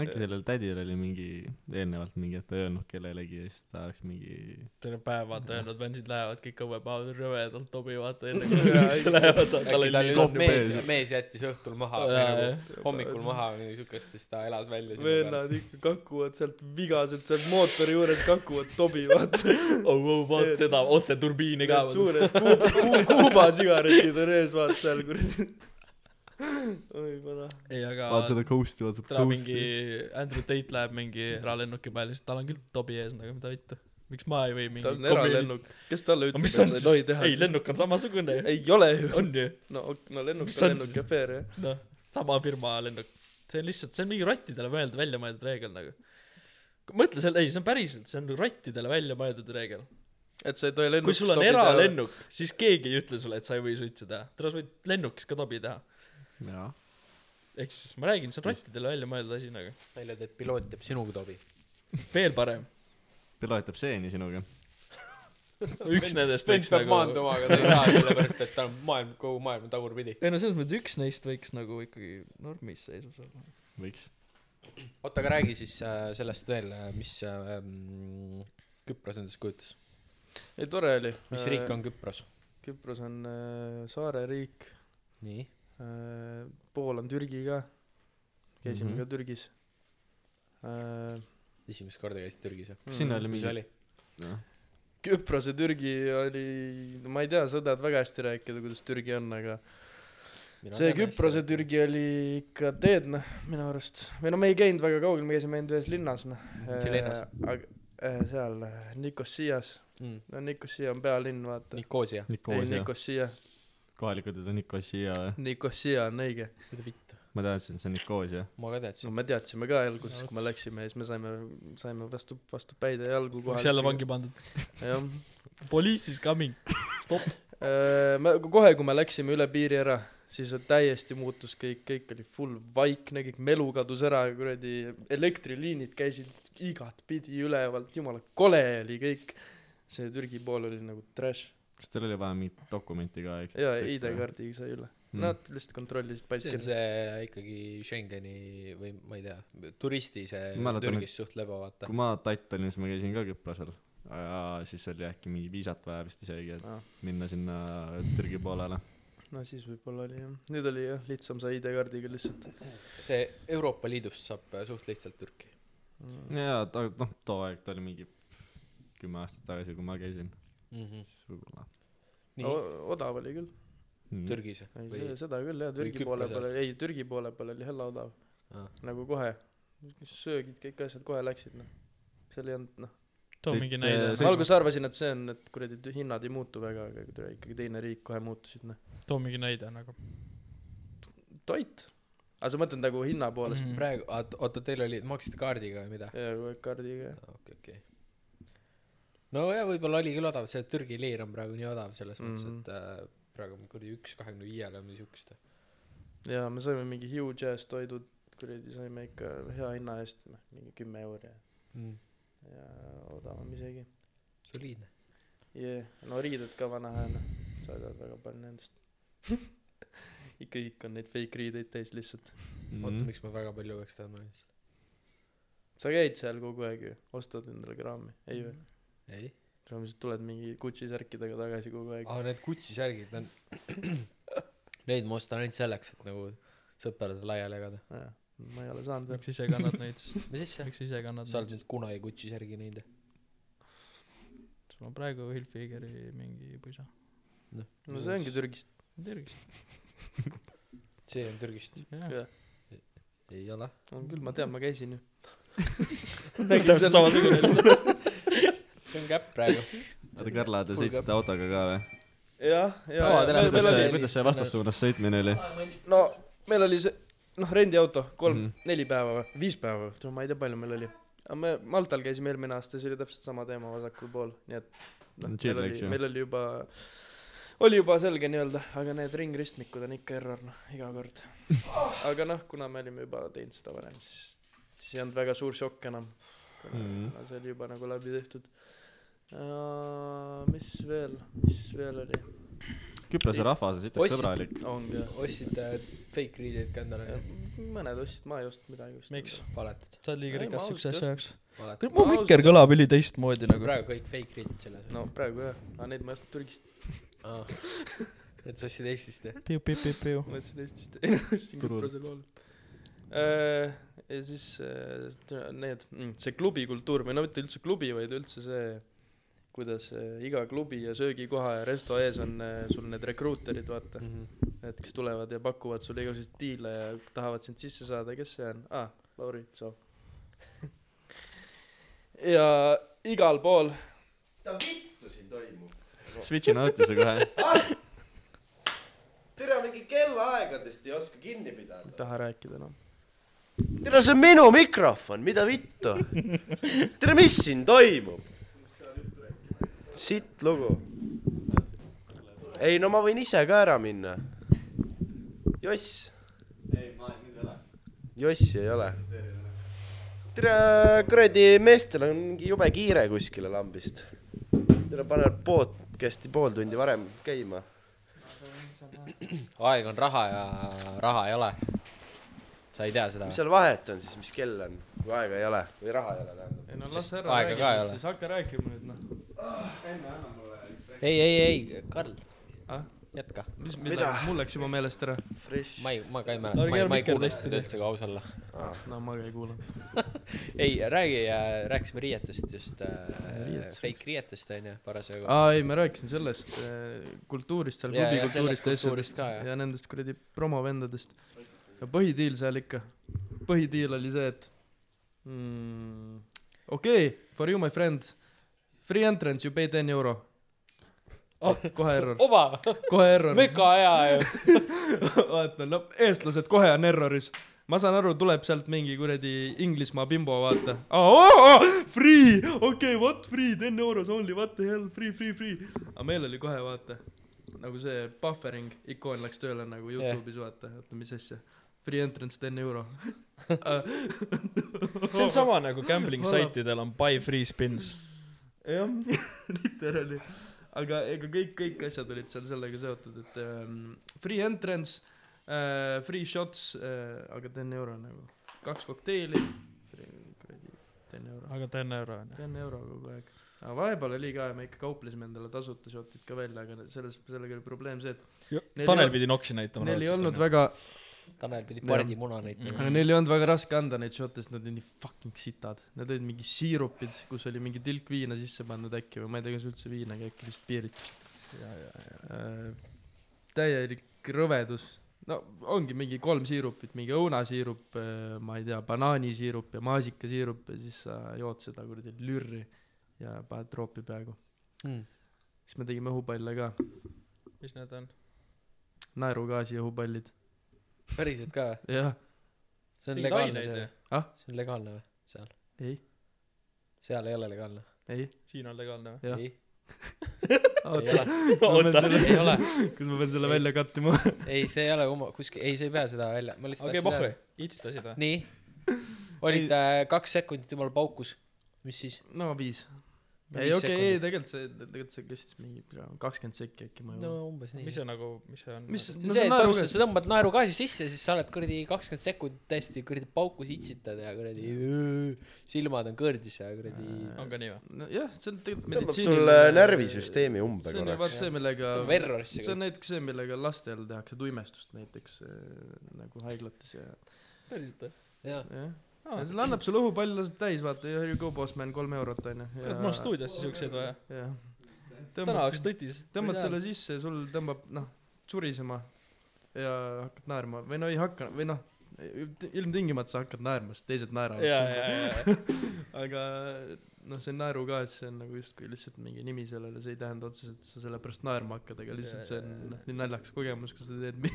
äkki sellel tädil oli mingi eelnevalt mingi , et ta ei öelnud kellelegi ja siis ta oleks mingi terve päev vaata öelnud , vendid lähevad kõik õuepäevad rõvedalt tobi vaata enne kui üldse lähevad , tal äkki oli tal nii oli kopp lihtsalt mees pees. , mees jättis õhtul maha Jaa, või nagu jah. hommikul maha või midagi siukest , siis ta elas välja sinna vennad ikka kakuvad sealt vigaselt sealt mootori juures kakuvad tobi vaata oh, , oh, vaat seda otse turbiini ka need . suured Kuuba Ku- Kuuba sigaretid on ees vaata seal kuradi oi vana ei , aga vaata seda coast'i , vaata seda täna coast'i mingi . Andrew Tate läheb mingi eralennuki peal ja siis tal on küll tobi ees nagu , mida vittu . miks ma ei või mingi ta on . eralennuk kes talle aga ütleb et mis sa on ei tohi siis , teha ei lennuk on samasugune ju , ei ole ju on ju , no ok- no lennuk Mis on on lennuk siis? ja fair jah noh , sama firma lennuk . see on lihtsalt , see on mingi rottidele mõeldud , välja mõeldud reegel nagu . mõtle selle , ei , see on päriselt , see on rottidele välja mõeldud reegel . et sa ei tohi lennuk kui sul on eralennuk , siis keegi ei ütle sulle , et sa ei või suitsu teha . täna sa võid lennukis ka tobi teha . jaa . ehk siis ma räägin , see on rottidele välja mõeldud asi nagu . välja teed piloot teeb sinuga tobi veel parem , pilaat teeb seeni sinuga . üks nendest vend võiks peab nagu maanduma aga ta ei saa sellepärast et ta on maailm kogu maailm on tagurpidi ei no selles mõttes üks neist võiks nagu ikkagi normis seisus olla . võiks . oota aga räägi siis äh, sellest veel äh, mis äh, mm, Küpros endast kujutas ei tore oli Äh, mis riik on Küpros Küpros on äh, saareriik nii äh, pool on Türgi ka käisime Mhm. ka Türgis äh, hmm. esimest korda käisid Türgis või kas sinna oli mis mingi see oli ? Küpros ja Türgi oli , ma ei tea , sa tahad väga hästi rääkida , kuidas Türgi on , aga see Küprose Türgi oli ikka teed noh minu arust või no me ei käinud väga kaugel me käisime ainult ühes linnas noh Mis linnas? aga eh, seal eh, Nikossias mm. . no Nikossia on pealinn vaata Nikosia . ei Nikosia , Nikossia kohalikud ütlevad Nikosia , Nikossia on õige mida vittu ? ma teadsin , et see on Nikosia . ma ka no teadsin . me teadsime ka alguses No kui me vot. läksime ja siis me saime saime vastu vastu päid ja jalgu kohe oleks jälle vangi pandud . jah Police is coming . Eh, me kohe kui me läksime üle piiri ära siis täiesti muutus kõik kõik oli full vaikne kõik melu kadus ära kuradi elektriliinid käisid igatpidi ülevalt jumala kole oli kõik see Türgi pool oli nagu trash kas teil oli vaja mingit dokumenti ka , eks ? ja ID-kaardiga sai üle Mm. nad lihtsalt see kontrollisid on palki see ikkagi Schengeni või ma ei tea , turisti see Ma mäletan, Türgis suht lebo , vaata kui . ma Tait olin , siis ma käisin ka Küprosel . ja siis oli äkki mingi viisat vaja vist isegi , et Aa. minna sinna Türgi poolele . no siis võibolla oli jah nüüd oli jah lihtsam see ID-kaardiga lihtsalt see Euroopa Liidust saab äh, suht lihtsalt Türki . ja ta , noh , too aeg ta oli mingi kümme aastat tagasi , kui ma käisin , siis võib-olla Mhm. nii no, , O- odav oli küll mm. . Türgis Oh. ei või see- ? seda küll jah Türgi poole Küprosel. peal oli ei Türgi poole peal oli hella odav Ah. nagu kohe söögid kõik asjad kohe läksid noh seal ei olnud noh too Siit, mingi äh, näide see- , ma alguses arvasin et see on et kuradi tü- hinnad ei muutu väga aga kui tule- ikkagi teine riik kohe muutusid noh too mingi näide nagu . toit aga sa mõtled nagu hinna poolest Mm. mm. praegu , oota , teil oli , maksite kaardiga või mida ? ja kogu aeg kaardiga ja okei , okei . no ja võib-olla oli küll odav , see Türgi leer on praegu nii odav selles mm -hmm. mõttes , Mhm. et äh, praegu on kuradi üks kahekümne viiele või siukest . ja me saime mingi huge ass toidud kuradi saime ikka hea hinna eest noh mingi kümme euri ja Mhm. ja odavam isegi soliidne . jee yeah. no riided ka vanahe noh sa tead väga palju nendest ikka kõik on neid fake riideid täis lihtsalt oota , Mm. miks ma väga palju peaks teadma neist ? sa käid seal kogu aeg ju ostad endale kraami ei Mhm. vä ei . sa lihtsalt tuled mingi Gucci särkidega tagasi kogu aeg aa , need Gucci särgid on , neid ma ostan ainult selleks , et nagu sõpradele laiali jagada . ah, . ma ei ole saanud veel . miks ise kannad neid siis ? mis asja ? miks ise kannad sa oled neid ? nüüd kunagi Gucci särgi näinud või ? sul on praegu Hilfigeri mingi puisa . no see ongi Türgist . tervist . see on Türgist . jah , jah , ei ole . on küll , ma tean , ma käisin ju . täpselt samasugune lihtsalt . see on käpp praegu . oota , Karla , te sõitsite autoga ka või ? jah , Tavaterased. kuidas ja Meil see , oli- kuidas see vastassuunas sõitmine oli ? no meil oli see , noh , rendiauto , kolm Mhm. mm. , neli päeva või viis päeva või , ma ei tea , palju meil oli . aga me Maltal käisime eelmine aasta ja see oli täpselt sama teema vasakul pool , nii et noh , Chill meil läks ju. oli , meil oli juba , oli juba selge nii-öelda , aga need ringristmikud on ikka error , noh , iga kord . aga noh , kuna me olime juba teinud seda varem , siis , siis ei olnud väga suur šokk enam . kuna Mhm. mm. see oli juba nagu läbi tehtud . mis veel , mis veel oli ? Küprose rahvas on siit Ossi- sõbralik . ongi jah , ostsid äh, fake riideid ka endale Jah. ? mõned ostsid , ma ei ostnud midagi just . miks ? valetud , sa oled liiga Ei, rikas ma siukse ausalt asja jaoks . valetud . mu Ma mikker ausalt- kõlab üli teistmoodi nagu . praegu kõik fake riided seljas no praegu jah , aga neid ma ei ostnud Türgist , ah. et sa ostsid Eestist jah piu-piu-piu-piu . ma ostsin Eestist , ei ma ostsin Turult. Küprosel vahel . ja siis äh, t- need , see klubikultuur või no mitte üldse klubi , vaid üldse see , kuidas äh, iga klubi ja söögikoha ja resto ees on äh, sul need rekruuterid , vaata , mm need , kes tulevad ja pakuvad sulle igasuguseid diile ja tahavad sind sisse saada , kes see on ? aa , Lauri , tšau . ja igal pool Switch'i nautise kohe . tere , mingi kellaaegadest ei oska kinni ei pidada . taha rääkida noh. enam no. . tere , see on minu mikrofon , mida vittu ? tere , mis siin toimub ? sitt lugu . ei no ma võin ise ka ära minna . Joss . Jossi ei ole . tere , kuradi meestel on mingi jube kiire kuskile lambist . tere , pane podcast'i pool tundi varem käima . aeg on raha ja raha ei ole sa ei tea seda mis seal vahet on siis , mis kell on , kui aega ei ole või raha ei ole tähendab ? ei no las ära Aega räägib ka ei nüüd ole. siis, hakka rääkima nüüd noh . ei ei ei Karl Ah? jätka mis , Mida? mida ? mul läks juba meelest ära . Fresh . ma ei ma ka ei mäleta Ärge ma ei ma ei Mikker kuulnud testige. seda üldse kui aus olla no ma ka ei kuula . ei , räägi , rääkisime riietest just äh, Riietus. , fake riietest Ah. onju , parasjagu . aa ei , ma rääkisin sellest eh, kultuurist seal , Jaa, jaa, sellest klubikultuurist ja kultuurist asjadest ka, jah. ja nendest kuradi promovendadest . ja põhidiil seal ikka , põhidiil oli see , et mm, okei okay, , for you my friend , free entrance , you pay ten euro oh. . kohe error , oba , Oh, kohe error , möka aja ju . vaata no eestlased kohe on erroris ma saan aru , tuleb sealt mingi kuradi Inglismaa bimbo , vaata oh, . Oh, oh, free , okei okay, , what free , ten euros only , what the hell , free , free , free . aga meil oli kohe , vaata , nagu see buffering ikoon läks tööle nagu Jah. Youtube'is yeah. , vaata , oota , mis asja . Free entrance ten euro . Ah, see on sama nagu gambling saitidel on buy free spins . jah , literally . aga ega kõik , kõik asjad olid seal sellega seotud , et ähm, free entrance äh, , free shots äh, , aga ten euro nagu . kaks kokteili , kuradi , ten euro . aga teen ära onju . ten euro kogu aeg . aga vahepeal oli ka , me ikka kauplesime endale tasuta shot'id ka välja , aga selles , sellega oli probleem see , et Neil ei Tanel olnud- pidi noksi näitama . neil ei olnud väga , Tanel pidi Jah. pardimuna näitama . aga neil ei olnud väga raske anda neid shot'e , sest nad olid nii fucking sitad . Nad olid mingi siirupid , kus oli mingi tilk viina sisse pandud äkki või ma ei tea , kas üldse viina , aga äkki vist piiritust . Äh, täielik rõvedus . no ongi mingi kolm siirupit , mingi õunasiirup , ma ei tea , banaanisiirup ja maasikasiirup ja siis sa jood seda kuradi lürri ja paned troopi peaaegu . Mm. siis me tegime õhupalle ka , mis need on ? naerugaasi õhupallid , päriselt ka või ? jah , see on Tegid legaalne aineid seal või? ? Ah? see on legaalne või ? seal , ei , seal ei ole legaalne . ei , siin on legaalne või ? Jah. ei , ei oota , ole , Oota. ei ole , kas ma pean selle välja kattima ? ei , see ei ole kumma- , kuskil , ei , sa ei pea seda välja , ma lihtsalt okei , pohhu teada- , itsitasid või ? nii , olid äh, kaks sekundit jumala paukus , mis siis ? no viis . No ei viis okei okay, , ei sekundit. tegelikult see , tegelikult see kestis mingi kakskümmend sekki äkki ma ei no mäleta . umbes nii . mis see nagu , mis see on ? mis , see on no see , see et põhimõtteliselt on naerugaas . sa tõmbad naerugaasi sisse , siis sa oled kuradi kakskümmend sekundit täiesti kuradi paukus itsitad ja kuradi silmad on kõrdis ja kuradi on ka nii või ? nojah , see on tegelikult tõmbab sulle närvisüsteemi umbe see on ju korraks . vaat see , millega , verrorisse see kõik on näiteks see , millega lastel tehakse tuimestust näiteks äh, nagu haiglates ja , päriselt või ? jaa jah . aa , see annab sulle õhupalli , laseb täis , vaata , here you go , boss man , kolm eurot onju . kurat , mul on . stuudiosse siukseid vaja . jah . täna tõmbad oleks selle , tutis . tõmbad selle sisse ja sul tõmbab , noh , surisema ja hakkad naerma või no ei hakka või noh , ilmtingimata sa hakkad naerma , sest teised naeravad . jaa , jaa , jaa . aga noh , see naerugaas , see on nagu justkui lihtsalt mingi nimi sellele , see ei tähenda otseselt , et sa selle pärast naerma hakkad , aga lihtsalt see on noh , nii naljakas kogemus , kui sa teed mi-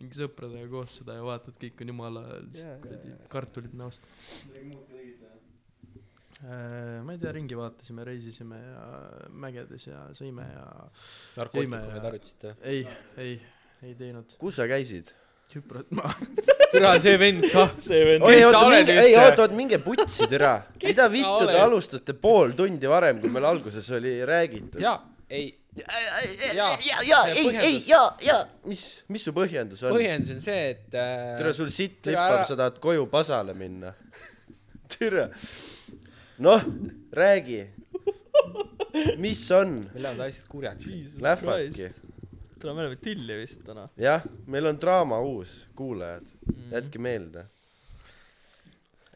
mingi sõpradega koos seda ja vaatad , kõik on jumala lihtsalt kuradi kartulid näost . ma ei tea , ringi vaatasime , reisisime ja mägedes ja sõime ja narkootikume ja- tarvitasite või ei , ei , ei teinud . kus sa käisid ? Küprot ma , türa see vend kah see vend ei kes sa oota , oled minge , ei oota , üldse oota , minge putsi türa . mida vittu te oled? alustate pool tundi varem , kui meil alguses oli räägitud ? jaa ei ja , ja , ja , ei , ei , ja , ja mis , mis su põhjendus on ? põhjendus on see et äh, tere , sul sitt Tere, lippab ära- , sa tahad koju pasale minna . tere . noh , räägi . mis on ? meil lähevad asjad kurjaks Lähvadki . täna me oleme tülli vist täna . jah , meil on draama uus , kuulajad , Mhm. jätke meelde .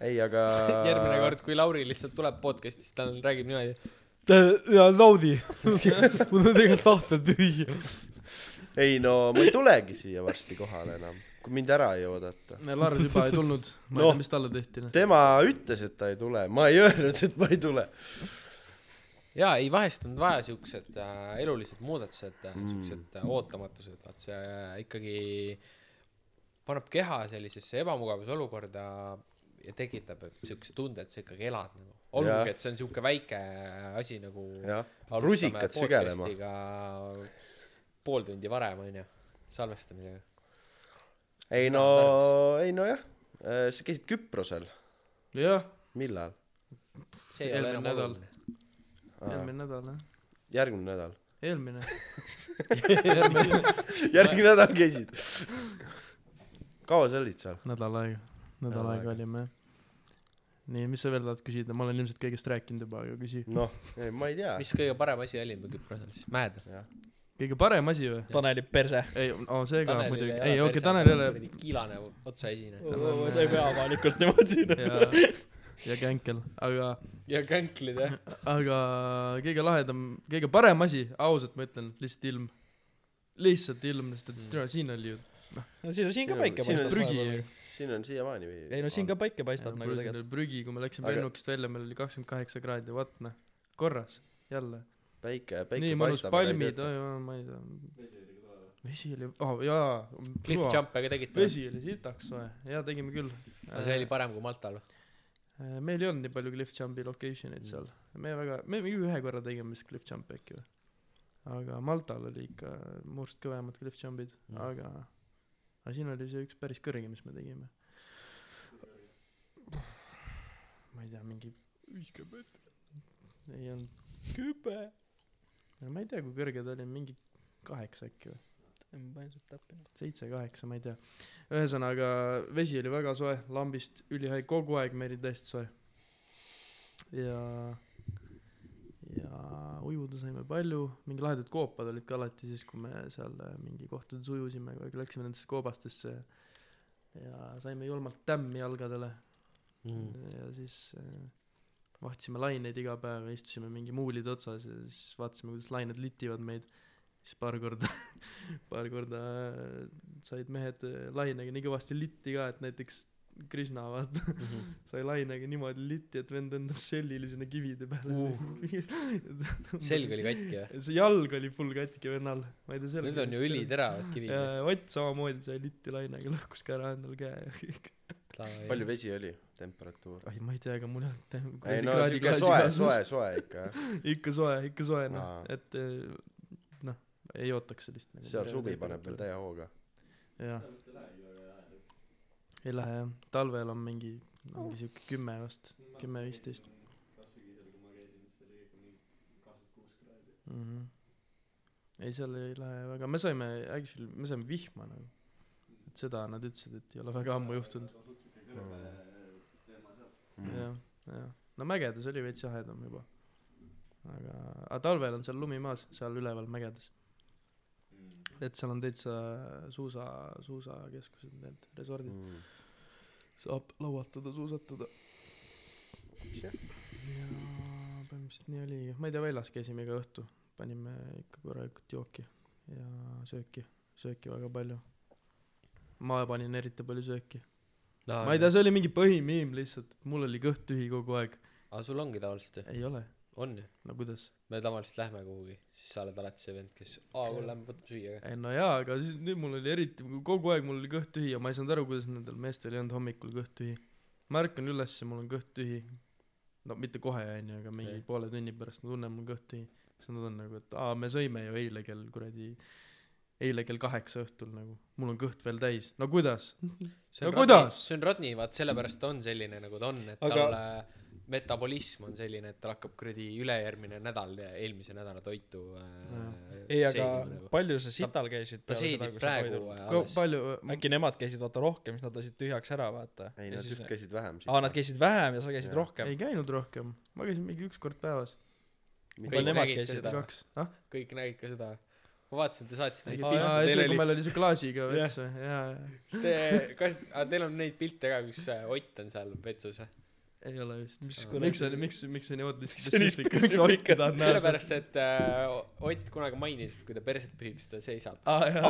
ei , aga järgmine kord kui Lauri lihtsalt tuleb podcast'i siis ta räägib niimoodi ja naudi . mul on tegelikult tahtel tühi . ei no ma ei tulegi siia varsti kohale enam , kui mind ära ei oodata . Lars juba ei tulnud , ma ei Noh. tea , mis talle tehti . tema ütles , et ta ei tule , ma ei öelnud , et ma ei tule . jaa ei vahest on vaja siuksed äh, elulised muudatused äh, siuksed äh, ootamatused vaat see äh, ikkagi paneb keha sellisesse ebamugavasse olukorda ja tekitab siukse tunde et sa ikkagi elad nagu Jah. olgugi et see on siuke väike asi nagu jah , alustame Rusikad sügelema. podcastiga pool tundi varem onju salvestamisega ei no , ei nojah , sa käisid Küprosel , jah , millal ? see ei ole Eelmine enam nädal. oluline eelmine nädal jah , järgmine nädal . eelmine . järgmine nädal käisid . kaua sa olid seal ? nädal aega , nädal Nädal aega. aega olime jah . nii , mis sa veel tahad küsida , ma olen ilmselt kõigest rääkinud juba , aga küsi . noh , ei ma ei tea . mis kõige parem asi oli meil Küprosel siis mäed kõige parem asi või ? Taneli perse . ei , aa see ka Tanelil muidugi , ole ei okei , perse- Tanel ei ole , kuradi kiilane otsaesine sa ei pea avalikult niimoodi . jaa , ja Känkel , aga , ja känklid jah . aga kõige lahedam , kõige parem asi , ausalt ma ütlen , lihtsalt ilm . lihtsalt ilm , sest et türa, siin oli ju , no siin , siin ka Siin on- päike siin on paistab . prügi ju. siin on siiamaani või ? ei no siin ka . päike paistab nagu siin tegelikult . oli prügi , kui me läksime Aga- lennukist välja , meil oli kakskümmend kaheksa kraadi , vot noh , korras , jälle . päike , nii päike mõnus , paistab . palmid , ma ei tea . vesi oli ka või ? vesi oli , jaa . Cliff . Jump'e ka tegite ? vesi oli sitaks soe , jaa , tegime küll . aga see oli parem kui Maltal . Eh, meil ei olnud nii palju cliff jump'i location eid seal me väga me mingi ühe korra tegime vist cliff jump'i äkki või aga Maltal oli ikka must kõvemad cliff jump'id mm. aga aga siin oli see üks päris kõrge mis me tegime ma ei tea mingi viiskümmend ei olnud kümme ma ei tea kui kõrge ta oli mingi kaheksa äkki või ma panin sealt täppi . seitse , kaheksa , ma ei tea . ühesõnaga vesi oli väga soe , lambist ülihai , kogu aeg meri täiesti soe . ja , ja ujuda saime palju , mingi lahedad koopad olid ka alati siis , kui me seal äh, mingi kohtades ujusime , kogu aeg läksime nendesse koobastesse ja saime julmalt tämmi jalgadele ja siis äh, vahtisime laineid iga päev ja istusime mingi muulide otsas ja siis vaatasime , kuidas lained litivad meid . siis paar korda , paar korda äh, said mehed äh, lainega nii kõvasti litti ka , et näiteks Krishna vaata mm -hmm. sai lainega niimoodi litti , et vend endas sellile sinna kivide peale uh. selg oli katki või ? see jalg oli full katki vennal , ma ei tea sellega . Need on ju üliteravad kivid . ja Ott samamoodi sai litti lainega , lõhkus ka ära endal käe ja kõik . palju vesi oli , temperatuur ? ai ma ei tea , ega mul ei olnud tem- kuradi ei no kraadi siuke klaasi soe , kaasas. soe , soe ikka . ikka soe ikka soe noh Aa. et eh, noh ei ootaks sellist nagu seal suvi paneb veel täie hooga . jah ei lähe jah talvel on mingi ongi siuke kümme vast kümme viisteist mhmh ei seal ei lähe väga me saime actually me saime vihma nagu et seda nad ütlesid et ei ole väga ammu juhtunud jah , jah . no mägedes oli veits jahedam juba . aga , aga talvel on seal lumi maas , seal üleval mägedes . et seal on täitsa suusa , suusakeskused , need resordid . Mm. saab lauatada , suusatada . ja põhimõtteliselt nii oli , ma ei tea , väljas käisime iga õhtu , panime ikka korralikult jooki ja sööki , sööki väga palju . ma panin eriti palju sööki . ma ei tea ,. see oli mingi põhimiim lihtsalt , et mul oli kõht tühi kogu aeg . aga sul ongi tavaliselt ju ? ei ole , on ju ? no kuidas ? me tavaliselt lähme kuhugi , siis sa oled alati see vend , kes , aa , kuule , lähme võtame süüa ka . ei Eh, no jaa , aga siis nüüd mul oli eriti , kogu aeg mul oli kõht tühi ja ma ei saanud aru , kuidas nendel meestel ei olnud hommikul kõht tühi . ma ärkan üles ja mul on kõht tühi . no mitte kohe onju , aga mingi Ei. poole tunni pärast ma tunnen , mul kõht tühi . siis nad on nagu , et aa , me sõime ju eile kell kuradi , eile kell kaheksa õhtul nagu . mul on kõht veel täis . no kuidas ? see on No Rodney- kuidas? see on Rodney , vaat sellepärast ta on selline , nagu ta on , et Aga- aga... tal metabolism on selline , et tal hakkab kuradi ülejärgmine nädal , eelmise nädala toitu äh, ei , aga seedima nagu. palju sa sital käisid ta peale seda , seedib kui sa praegu toidul ? äh, alles palju , äkki nemad käisid vaata rohkem , siis nad lasid tühjaks ära , vaata . ei , nad just käisid vähem . aa , nad käisid vähem ja sa käisid Jaa. rohkem ei . käinud rohkem . ma käisin mingi üks kord päevas . palju kõik nemad nägid ka käisid seda , kaks . ah , kõik nägid ka seda ma vaatasin , te saatsite neid Aa, jaa, aa , pilte , see , teil kui oli , meil oli see klaasiga vets või ? jaa , jaa . te , kas , aga teil on neid pilte ka , kus äh, Ott on seal vetsus või ? ei ole vist . mis miks see , miks , miks see nii oot- see nii spetsiifik , miks sa spetsiifika- otti tahad näha sealt ? sellepärast , et äh, Ott kunagi mainis , et kui ta perset pühib , siis ta seisab . aa jaa ,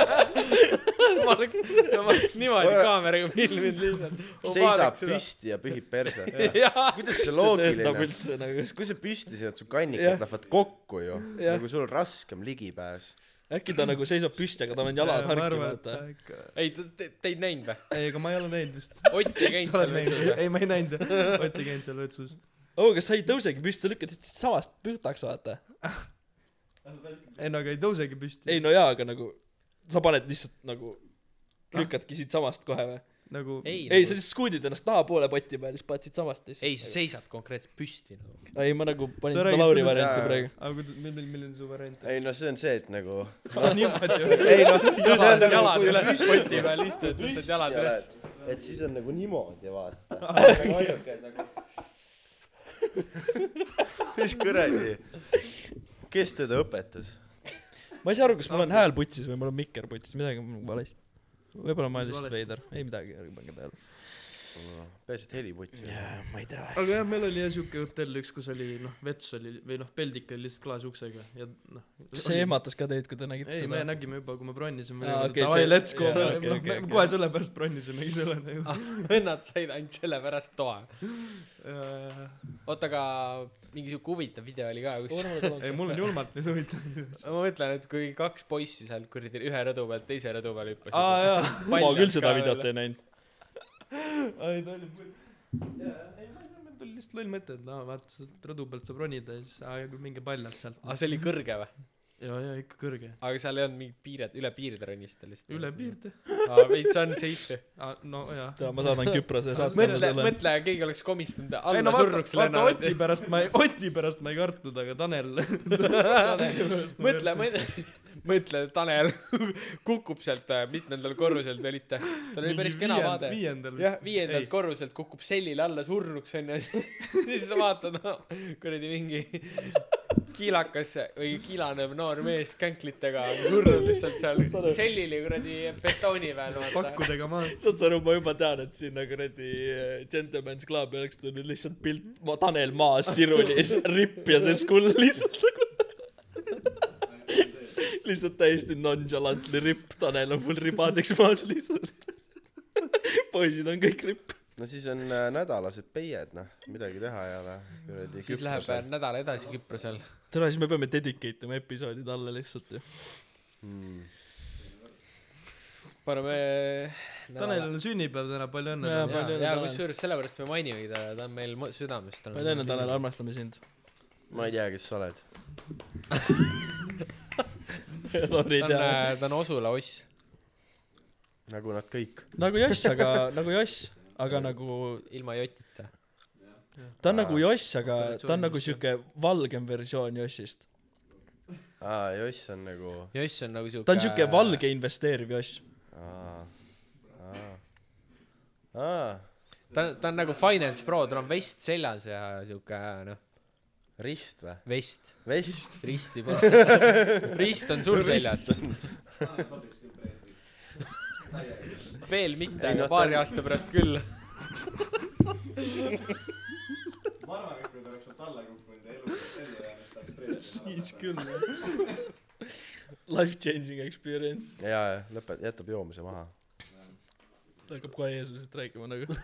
ma oleks , ma oleks niimoodi kaameraga filminud lihtsalt . seisab . püsti ja pühib perset . jaa , kuidas see loogiline . loogiline on ? üldse nagu , sest kui sa püsti sead , su kannikad lähevad kokku ju . Jah. nagu sul on raskem ligipääs . äkki ta nagu seisab püsti , aga tal on jalad harki , vaata . vaata . ei , te , te ei näinud või ? ei , aga ma ei ole näinud vist . Ott ei käinud seal vetsus või ? ei , ma ei näinud , Ott ei käinud seal vetsus . oo , Oh, kas sa ei tõusegi püsti , sa lükkad lihtsalt samast pühtaks , vaata . ei no aga ei tõusegi püsti ei . no jaa , aga nagu sa paned lihtsalt nagu , lükkadki siitsamast kohe või ? nagu , ei, ei , sa lihtsalt skuudid ennast tahapoole poti peal , siis paned siitsamast ei , sa lihtsalt . seisad konkreetselt püsti nagu . ei , ma nagu panin Sa seda räägid, Lauri kuidas- varianti jaa. praegu . aga kuidas , milline , milline su variant on ? ei no see on see , et nagu . niimoodi või ? ei noh , jalad , nagu jalad üles , poti peal istud , tõstad jalad üles .. et siis on nagu niimoodi vaata . ainuke et nagu . mis kuradi , kes teda õpetas ? ma ei saa aru , kas mul on hääl putsis või mul on mikker putsis , midagi on valesti . võib-olla ma olen lihtsalt Valesti. veider , ei midagi , ärge pange tähele . peaasi , et heliputt ei ole . ma ei tea . aga jah , meil oli jah siuke hotell üks , kus oli noh , vets oli või noh , peldik oli lihtsalt klaasuksega ja noh . kas see ehmatas ka teid , kui te nägite ei , me seda ? nägime juba , kui me bronisime Aa, , okei, davai see- , let's go , jaa, me okei, noh, okei, me okei. kohe sellepärast bronisimegi selle . Nad said ainult sellepärast toa . Äh, oota , aga mingi siuke huvitav video oli ka , kus ei , mul on julmalt nüüd huvitav . ma mõtlen , et kui kaks poissi sealt kuradi ühe rõdu pealt teise rõdu peale hüppasid . aa jaa , ma küll seda videot ei näinud . ei ta oli pull . ei , ma ei tea , mul tuli lihtsalt loll mõte , et noh , vaata sealt rõdu pealt saab ronida ja siis , aa , minge paljalt sealt . aa , see oli kõrge või ? ja , ja ikka kõrge . aga seal ei olnud mingit piiret , üle piiride ronista lihtsalt . üle . piirde . aa , veits on safe . aa , no jaa . täna ma saadan Küprose saatele mõtle , selle . mõtle , keegi oleks komistanud ei alla no vaata surnuks , vaata lennanud Oti . pärast ma ei , Oti pärast ma ei kartnud , aga Tanel . Taneli pärast ma mõtle , kartsin. mõtle , mõtle , Tanel kukub sealt äh, mitmendal korrusel te olite , tal oli Mingi päris kena viiend- vaade . viiendal jah , vist . viiendalt korruselt kukub sellile alla surnuks onju , siis sa vaatad no, , kuradi mingi kiilakas või kiilanev noor mees känklitega surnud lihtsalt seal sellile kuradi betooni peal vaata . pakkudega maas . saad sa aru , ma juba tean , et sinna kuradi äh, Gentleman's Clubi oleks tulnud lihtsalt pilt ma, Tanel maas siruli ja siis ripp ja see skull lihtsalt nagu lihtsalt täiesti nonchalantly ripp , Tanel on mul ribadeks maas lihtsalt . poisid on kõik ripp . no siis on äh, nädalased peied , noh , midagi teha ei ole . siis läheb äh, nädal edasi Küprosel . tere , siis me peame dedicate ima episoodi talle lihtsalt ju . mm. . paneme . Tanelil on sünnipäev täna , palju õnne Jaa, talle . palju õnne, ja Tanel. kusjuures sellepärast me mainimegi teda , ta on meil mu- südames . palju õnne , Tanel , armastame sind . ma ei tea , kes sa oled . Lauri ei ta on äh, tea ., ta on Osula oss . nagu nad kõik . nagu Joss , aga nagu Joss , aga nagu ilma jotita . ta on nagu Joss , aga ta on nagu siuke Operatsioonidest, valgem versioon Jossist . aa , Joss on nagu , joss on nagu siuke . ta on siuke valge investeeriv Joss . aa , aa , aa , ta on , ta on nagu Finance Pro , tal on vest seljas ja siuke noh , rist või ? vest , vest . risti pole . rist on sul seljas . veel mitte , Ei, aga noh, ta paari on- aasta pärast küll . siis küll jah . Life changing experience . jaa , jaa , lõpet- , jätab joomise maha . ta hakkab kohe Jeesusest rääkima nagu .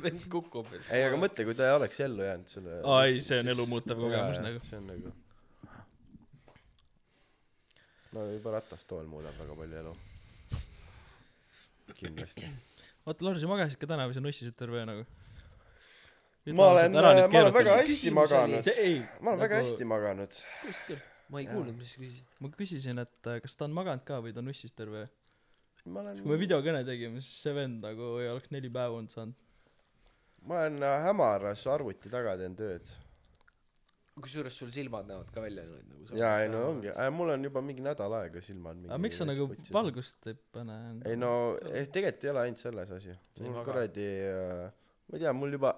vend kukub . ei , aga mõtle , kui ta ei oleks ellu jäänud sulle . Aa, ei, see on elumuutev kogemus nagu. see on nagu . no juba ratastool muudab väga palju elu . kindlasti . oota , Lauri , sa magasid ka täna või sa nussisid terve öö nagu ? ma olen , ma olen väga hästi maganud . see ei , ma olen väga nagu- hästi maganud . ma ei kuulnud , mis sa küsisid . ma küsisin , et äh, kas ta on maganud ka või ta nussis terve öö . ma olen siis , kui me videokõne tegime , siis see vend nagu ei oleks neli päeva olnud saanud . ma olen äh, hämaras arvuti taga teen tööd . kusjuures sul silmad näevad ka välja nüüd nagu . jaa , ei no ongi , mul on juba mingi nädal aega silmad . aga miks sa nagu ? valgust ei pane ? ei no , tegelikult ei ole ainult selles asi . ei mul maga. kuradi , ma ei tea , mul juba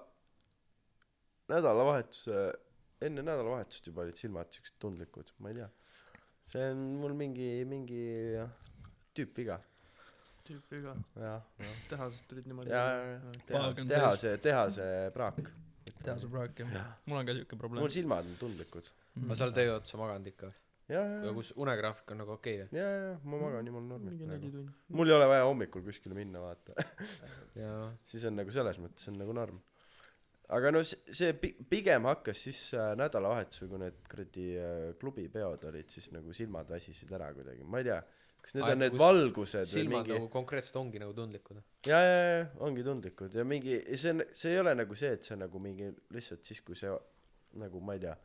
nädalavahetuse , enne nädalavahetust juba olid silmad siuksed tundlikud , ma ei tea . see on mul mingi , mingi tüüpviga . tüüpiga , jah , tehasest tulid niimoodi . ja , ja , tehase Pagan , tehase , tehase praak . tehas võib rääkida . mul on ka siuke mul probleem . silmad on tundlikud . aga sa oled öö otsa maganud ikka või ? ja , aga ja , kus unegraafik on nagu okei või ? ja , ja ma magan jumala normilt mingi praegu neli . tundi . mul ei ole vaja hommikul kuskile minna , vaata . jaa . siis on nagu selles mõttes on nagu norm . aga no s- see pi- pigem hakkas siis äh, nädalavahetusel , kui need kuradi äh, klubipeod olid , siis nagu silmad väsisid ära kuidagi , ma ei tea , kas need Aa, on need kus- valgused või silmad mingi nagu konkreetselt ongi nagu tundlikud . ja , ja , ja ongi tundlikud ja mingi see on , see ei ole nagu see , et see on nagu mingi lihtsalt siis , kui see nagu ma ei tea ,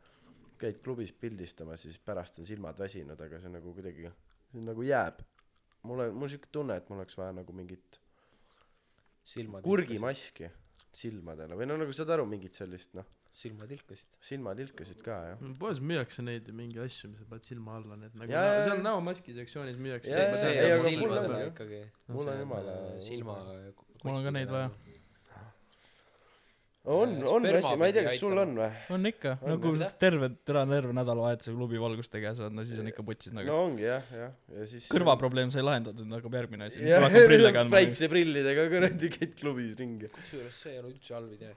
käid klubis pildistamas ja siis pärast on silmad väsinud , aga see nagu kuidagi , see nagu jääb . mul on , mul on siuke tunne , et mul oleks vaja nagu mingit silmad . kurgimaski silmadele või no nagu saad aru mingit sellist noh silmad ilkasid . silmatilkasid ka jah poes müüakse neid mingi asju , mis sa paned silma alla , need nagu Jaa, jaa, näo- jaa. seal näomaski sektsioonis müüakse . nagu Jaa, see , jaa, see ei, on aga mul on silmadega ju. ikkagi . äh, mul on jumala silma . Mul on ka neid vaja. . on , on äh, Sperma asi , ma ei tea , pidi kas sul aitama. on või ? on ikka , On, no kui on, sa jah. terve , täna terve nädalavahetuse klubi valgustega saad , no siis on ikka putsis nagu no, . no ongi jah , jah , ja siis . kõrvaprobleem sai lahendatud , nüüd hakkab järgmine asi . jah hakkab , prille kandma . päikseprillidega kuradi käid klubis ringi . kusjuures see ei ole üldse halb idee .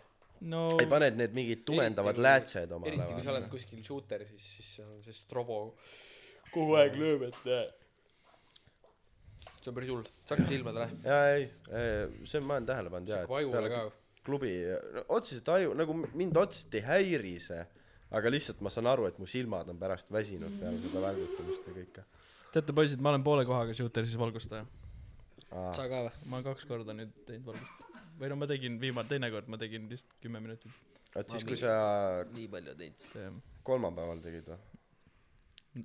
no ei , paned need mingid tumendavad kui- läätsed omale eriti kui sa oled või ? kuskil shooter , siis , siis seal on see strobo kogu aeg lööb , et see on päris hull , see hakkab silmadele , jaa , ei , see ma olen tähele pannud jaa , see et vajule ka peale . klubi , no otseselt aju , nagu m- mind otseselt ei häiri see , aga lihtsalt ma saan aru , et mu silmad on pärast väsinud peale seda välgutamist ja kõike . teate poisid , ma olen poole kohaga shooter siis valgustaja . sa ka või ? ma olen kaks korda nüüd teinud valgust . või no ma tegin viimane , teine kord ma tegin vist kümme minutit . ehm, vot siis , Ma kui mingi- sa nii palju teinud . kolmapäeval tegid või ?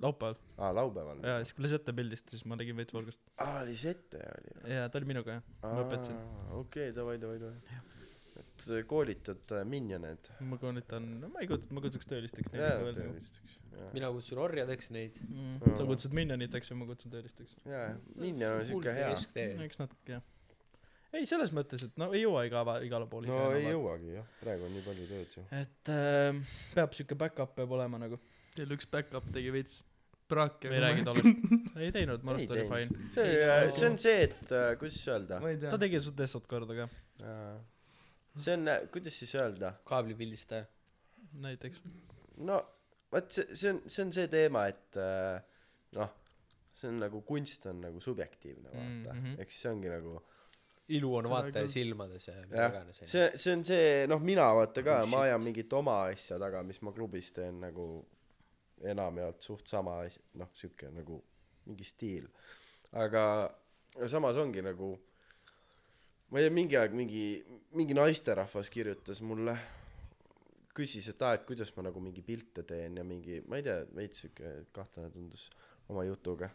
laupäeval aa , laupäeval . ja siis , kui Lisette pildist , siis ma tegin veits valgust . aa , Lisette oli või ? ja ta oli minuga jah , ma õpetasin . okei , davai , davai , davai . et äh, koolitad äh, minjone , et . ma koolitan , no ma ei kujutanud , ma kutsuks töölisteks neid jaa , nagu öelda . tervistaks . jaa , mina kutsun orjadeks neid . Mm. sa kutsud minioniteks ja ma kutsun töölisteks . jaa , minjon on siuke hea . eks natuke jah . ei , selles mõttes , et no ei jõua iga , igale poole no ei . jõuagi jah , praegu on nii palju tööd ju . et äh, peab siuke back-up peab olema nagu . teil üks back-up tegi veits praaki . me ei räägi tollest . ei teinud , ma arvan , Ei et oli teinud. fine . see , see on see , et äh, kuidas öelda . ma ei ta tea . tegi su testot korda ka , see on , kuidas siis öelda , kaablipildistaja . näiteks . no vot see , see on , see on see teema , et äh, noh , see on nagu kunst on nagu subjektiivne vaata mm Mhm. -hmm. ehk siis see ongi nagu ilu on vaataja silmades ja mida Jah. iganes . see , see on see , noh , mina vaata ka Oh, oh, , ma shit. ajan mingit oma asja taga , mis ma klubis teen nagu enamjaolt suht sama asi , noh , sihuke nagu mingi stiil . aga samas ongi nagu , ma ei tea , mingi aeg mingi , mingi naisterahvas kirjutas mulle , küsis , et aa , et kuidas ma nagu mingi pilte teen ja mingi , ma ei tea , veits sihuke kahtlane tundus oma jutuga .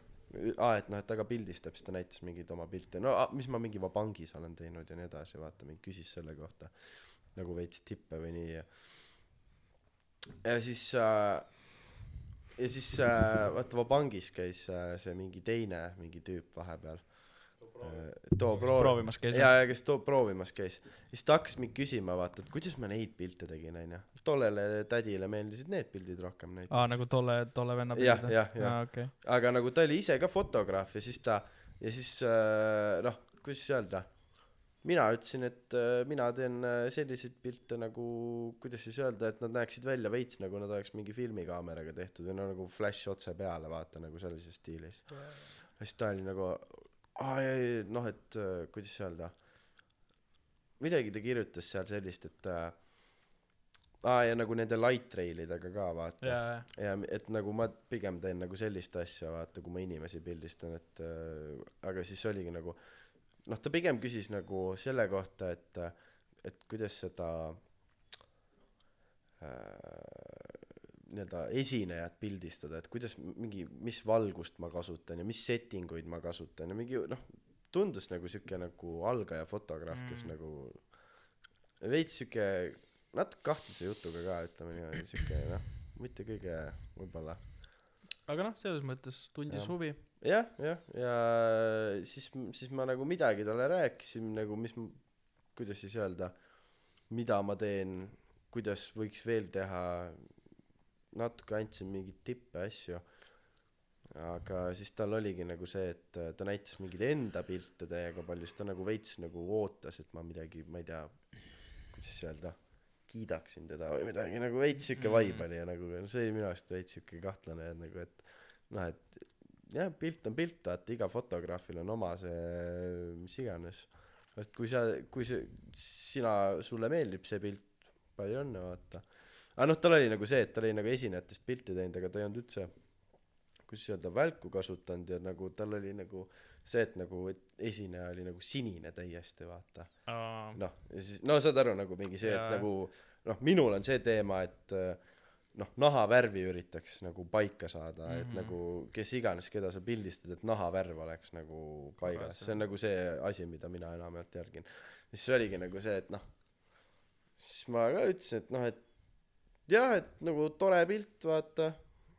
aa , et noh , et ta ka pildistab , siis ta näitas mingeid oma pilte , no a, mis ma mingi vabangis olen teinud ja nii edasi , vaata , mingi küsis selle kohta nagu veits tippe või nii ja ja siis äh, ja siis äh, vaata vabangis käis äh, see mingi teine mingi tüüp vahepeal Äh, too proov- proovimas käis . jaa , ja kes too proovimas käis , siis ta hakkas mind küsima , vaata , et kuidas ma neid pilte tegin , onju . tollele tädile meeldisid need pildid rohkem näiteks aa , nagu tolle , tolle venna Jah, peal . jah, jah. aa , okei . aga nagu ta oli ise ka fotograaf ja siis ta ja siis äh, noh , kuidas öelda , mina ütlesin , et äh, mina teen äh, selliseid pilte nagu , kuidas siis öelda , et nad näeksid välja veits nagu nad oleks mingi filmikaameraga tehtud või no nagu flash otse peale , vaata nagu sellises stiilis . ja siis ta oli nagu , aa ei , ei noh , et äh, kuidas öelda , midagi ta kirjutas seal sellist , et äh, aa ja nagu nende light trail idega ka vaata jaa , jaa . ja m- et nagu ma pigem teen nagu sellist asja vaata kui ma inimesi pildistan et äh, aga siis oligi nagu noh ta pigem küsis nagu selle kohta et äh, et kuidas seda äh, nii-öelda esinejat pildistada et kuidas m- mingi mis valgust ma kasutan ja mis settinguid ma kasutan ja mingi noh tundus nagu siuke nagu algaja fotograaf kes mm. nagu veits siuke natuke kahtlase jutuga ka ütleme niimoodi siuke noh mitte kõige võibolla aga noh , selles mõttes tundis Jah. huvi . jah jah ja siis siis ma nagu midagi talle rääkisin nagu mis m- kuidas siis öelda mida ma teen kuidas võiks veel teha natuke andsin mingeid tippe asju aga siis tal oligi nagu see et äh, ta näitas mingeid enda pilte täiega palju siis ta nagu veits nagu ootas et ma midagi ma ei tea kuidas öelda kiidaksin teda või midagi nagu veits siuke vibe oli ja nagu no see oli minu arust veits siuke kahtlane et nagu et noh et jah pilt on pilt vaata iga fotograafil on oma see mis iganes et kui sa kui see sina sulle meeldib see pilt palju õnne vaata aga noh tal oli nagu see et ta oli nagu esinejatest pilti teinud aga ta ei olnud üldse kuidas öelda välku kasutanud ja nagu tal oli nagu see et nagu et esineja oli nagu sinine täiesti vaata noh ja siis no saad aru nagu mingi see et Jaa. nagu noh minul on see teema et äh, noh nahavärvi üritaks nagu paika saada mm -hmm. et nagu kes iganes keda sa pildistad et nahavärv oleks nagu paigas see on nagu see asi mida mina enamjaolt järgin ja siis oligi nagu see et noh siis ma ka ütlesin et noh et jah et nagu tore pilt vaata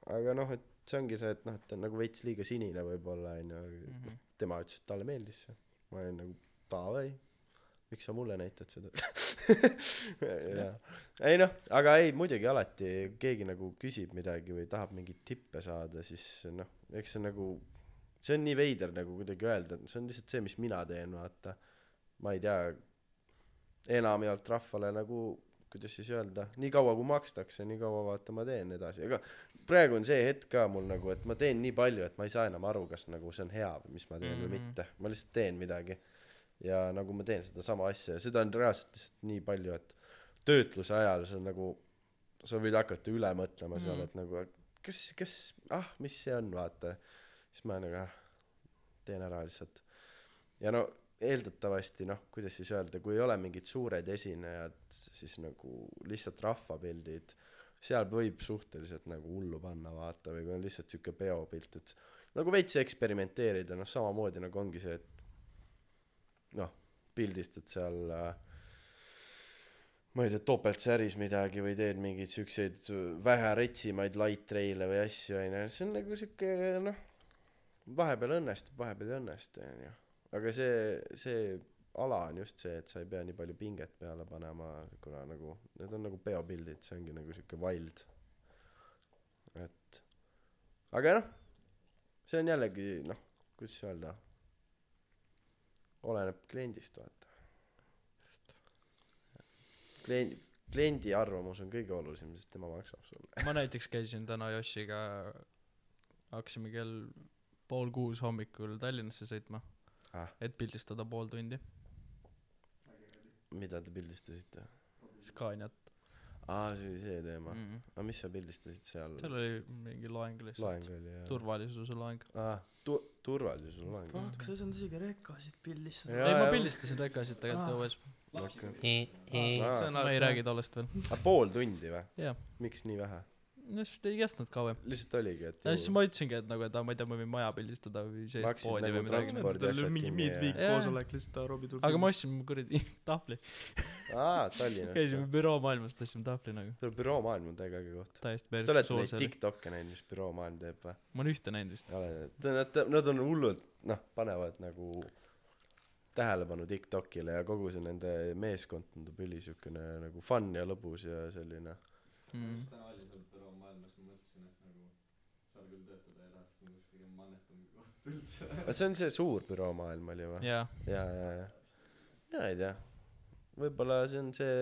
aga noh et see ongi see et noh et ta on nagu veits liiga Mhm. sinine võibolla onju aga noh tema ütles et talle meeldis see ma olin nagu davai miks sa mulle näitad seda jaa ei noh aga ei muidugi alati kui keegi nagu küsib midagi või tahab mingeid tippe saada siis noh eks see nagu see on nii veider nagu kuidagi öelda et see on lihtsalt see mis mina teen vaata ma ei tea enamjaolt rahvale nagu kuidas siis öelda nii kaua kui makstakse nii kaua vaata ma teen edasi ega praegu on see hetk ka mul nagu et ma teen nii palju et ma ei saa enam aru kas nagu see on hea või mis ma teen Mhm. mm -hmm. või mitte ma lihtsalt teen midagi ja nagu ma teen sedasama asja ja seda on reaalselt lihtsalt nii palju et töötluse ajal see on nagu sa võid hakata üle mõtlema seal mm. et nagu kas kas ah mis see on vaata siis ma nagu ah teen ära lihtsalt ja no eeldatavasti noh kuidas siis öelda kui ei ole mingid suured esinejad siis nagu lihtsalt rahvapildid seal võib suhteliselt nagu hullu panna vaata või kui on lihtsalt siuke peopilt et nagu veits eksperimenteerida noh samamoodi nagu ongi see et noh pildistad seal äh, ma ei tea topeltsäris midagi või teed mingeid siukseid äh, vähe retsimaid light trail'e või asju onju see on nagu siuke noh vahepeal õnnestub vahepeal ei õnnestu onju aga see see ala on just see et sa ei pea nii palju pinget peale panema kuna nagu need on nagu peopildid see ongi nagu siuke wild et aga noh see on jällegi noh kuidas öelda oleneb kliendist vaata klient kliendi arvamus on kõige olulisem sest tema maksab sulle Mhm. ma näiteks käisin täna Jossiga hakkasime kell pool kuus hommikul Tallinnasse sõitma Ah. et pildistada pool tundi mida te pildistasite Scaniat aa see oli see teema mm. aga mis sa pildistasid seal seal oli mingi loeng lihtsalt loeng oli ja turvalisuse loeng aa tu- turvalisuse loeng fuck sa ei saanud isegi rekasid pildistada Jaa, ei ma jaa. pildistasin rekasid Ah. tegelikult õues Okei. see on aa ma ei räägi tollest veel aa, Ah, pool tundi või jah miks nii vähe no siis ta ei kestnud kauem lihtsalt oligi et ja siis ma ütlesingi et nagu et aa, ma ei tea ma võin maja pildistada või sees Maksid poodi nagu või midagi transpordi tal oli asjad mingi kinni midweek ja- koosolek lihtsalt Robbie tuleb aga ma ostsin mu kuradi tahvli aa Tallinnas käisime büroo maailmas tõstsime tahvli nagu tuleb büroomaailm on täiega äge koht täiesti kas te olete neid Tiktoke näinud mis büroomaailm teeb või ma olen ühte näinud vist ei ole ta nad nad on hullult noh panevad nagu tähelepanu Tiktokile ja kogu see nende meeskond tundub üli siukene nagu fun ja lõbus ja selline mm. nagu aga see on see suur büroomaailm oli või jaa jaa jaa jaa mina ei tea võibolla see on see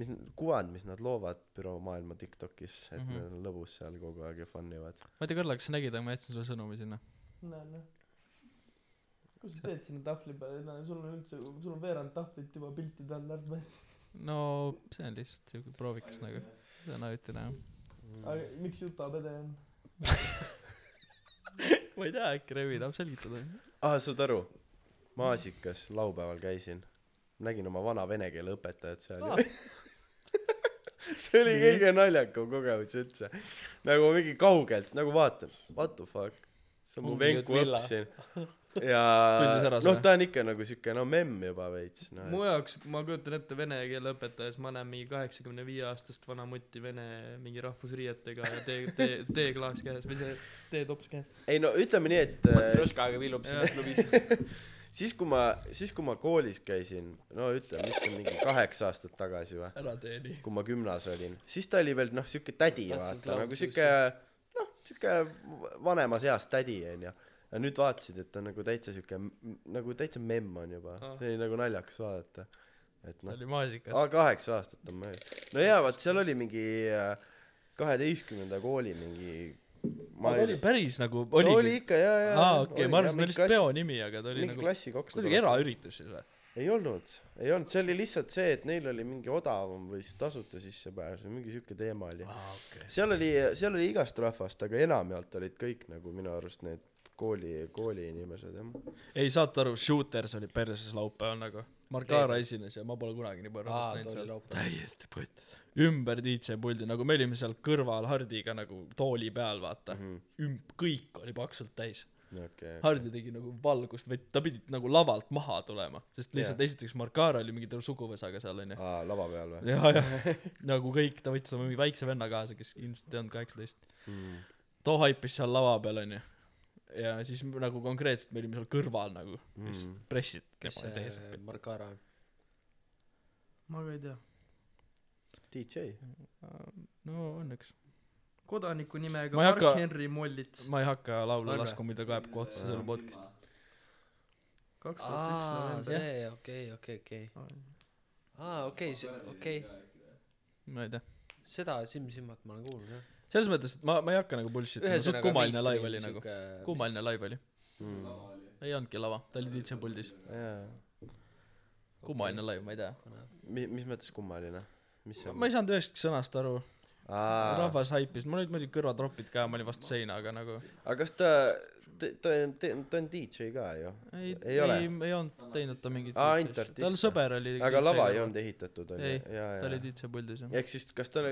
mis n- kuvand mis nad loovad büroomaailma Tiktokis et mm Mhm. -hmm. neil on lõbus seal kogu aeg ja fun ivad ma ei tea Karla kas sa nägid aga ma jätsin sulle sõnumi sinna näe näe kus sa teed sinna tahvli peale näe sul on üldse sul on veerand tahvlit juba piltide all ära no see on lihtsalt siuke proovikas nagu täna ütlen jah Mm. aga miks jutapede on ma ei tea äkki Revi tahab selgitada aa Ah, saad aru maasikas laupäeval käisin nägin oma vana vene keele õpetajat seal Ah. ja see oli kõige naljakam kogemus üldse nagu mingi kaugelt nagu vaatan what the fuck see on mu Ongi venku Ludmilla. õpp siin ja Tundis ära noh selle? ta on ikka nagu siuke no memm juba veits noh mu et- jaoks ma kujutan ette vene keele õpetajas ma näen mingi kaheksakümne viie aastast vana mutti vene mingi rahvusriietega ja tee tee teeklaas käes või see teetops käes ei no ütleme nii et äh, truskaga vilub Jaa. siin klubis siis kui ma siis kui ma koolis käisin no ütleme mis see on mingi kaheksa aastat tagasi või ära tee nii kui ma gümnas olin siis ta oli veel noh siuke tädi Tahtsin vaata nagu klaukusse. siuke noh siuke vanemas eas tädi onju ja nüüd vaatasid et ta on nagu täitsa siuke m- nagu täitsa memm on juba Ah. see oli nagu naljakas vaadata et ta noh oli maasikas aa kaheksa aastat on möödas no jaa vaat seal oli mingi äh, kaheteistkümnenda kooli mingi ma aga ei oli päris nagu oli, oli oligi ikka jaa jaa aa okei ma arvasin et ta oli lihtsalt peo peo nimi aga ta oli mingi nagu klassi kas ta oli kokku eraüritus siis või ei olnud ei olnud see oli lihtsalt see et neil oli mingi odavam või siis tasuta sissepääs või mingi siuke teema Ah, oli seal oli seal oli igast rahvast aga enamjaolt olid kõik nagu minu arust need kooli kooli inimesed jah ei saate aru Shooters oli perses laupäeval nagu Margara esines ja ma pole kunagi nii palju aa rahvast näinud too oli seal laupäev täiesti põtt ümber DJ puldi nagu me olime seal kõrval Hardiga nagu tooli peal vaata Mhm. ümb- kõik oli paksult täis okei okay. Hardi tegi nagu valgust või ta pidi nagu lavalt maha tulema sest lihtsalt yeah. esiteks Margara oli mingi terve suguvõsaga seal onju aa lava peal või ja ja nagu kõik ta võttis oma mingi väikse venna kaasa kes ilmselt ei olnud kaheksateist mm. too haipis seal lava peal onju ja siis me nagu konkreetselt me olime seal kõrval nagu mm. , siis Mm. pressid kes tema tehes see Markara on ? ma ka ei tea . DJ . no õnneks . kodaniku nimega Ma ei Mark hakka- Henry Mollits . ma ei hakka laule On või? laskma , mida kaebab kohtusse selle podcast'i . kaks aa , tuhat üks november . see , okei , okei , okei . aa , okei , see , okei . ma ei tea . seda Sim Simmat ma olen kuulnud jah . selles mõttes , et ma , ma ei hakka nagu bullshit ima , suht kummaline live oli nagu ,. kummaline . live oli . Mm. ei olnudki lava , ta oli DJ puldis . jaa . kummaline live , ma ei tea . mi- , mis mõttes kummaline ? mis see ma ei saanud ühestki sõnast aru , on ? rahvas haipis , mul olid muidugi kõrvatropid ka , ma olin vastu seina , aga nagu aga kas ta , ta , ta on , ta on DJ ka ju . ei , Ei ei , ole? ei, ei olnud teinud ta mingit Aa, ainult artist, tal jah. sõber oli aga DJ lava ka. ei olnud ehitatud , on Ei, ju ? jaa , ta oli jaa . DJ puldis jah ehk siis , kas ta ,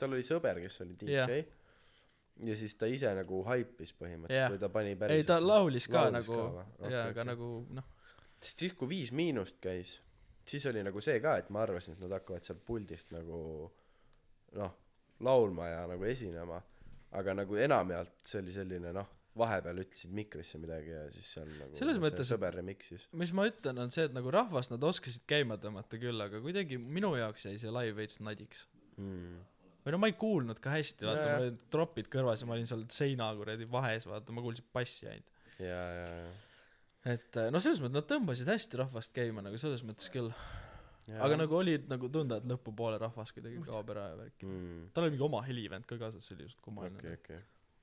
tal oli sõber , kes oli Jah. DJ ? ja siis ta ise nagu haipis Jah. põhimõtteliselt või ta pani ei päriselt ta laulis ka Laulis nagu ka või? Okei, jaa okei. aga nagu noh sest siis , kui Viis Miinust käis , siis oli nagu see ka , et ma arvasin , et nad hakkavad sealt puldist nagu noh , laulma ja nagu esinema , aga nagu enamjaolt see oli selline noh , vahepeal ütlesid mikrisse midagi ja siis seal nagu Selles see mõttes- sõber remix'is . mis ma ütlen on see et nagu rahvast nad oskasid käima tõmmata küll aga kuidagi minu jaoks jäi see live veits nadiks Mm. või no ma ei kuulnud ka hästi vaata Nojah. mul olid tropid kõrvas ja ma olin seal seina kuradi vahes vaata ma kuulsin bassi ainult ja , ja , ja, et eh, no selles mõttes nad tõmbasid hästi rahvast käima nagu selles mõttes küll ja. aga nagu olid nagu tunda et lõpupoole rahvas kuidagi kaob ära ja värki mm. tal oli mingi oma helivend ka kaasas see oli just kummaline okei , okei .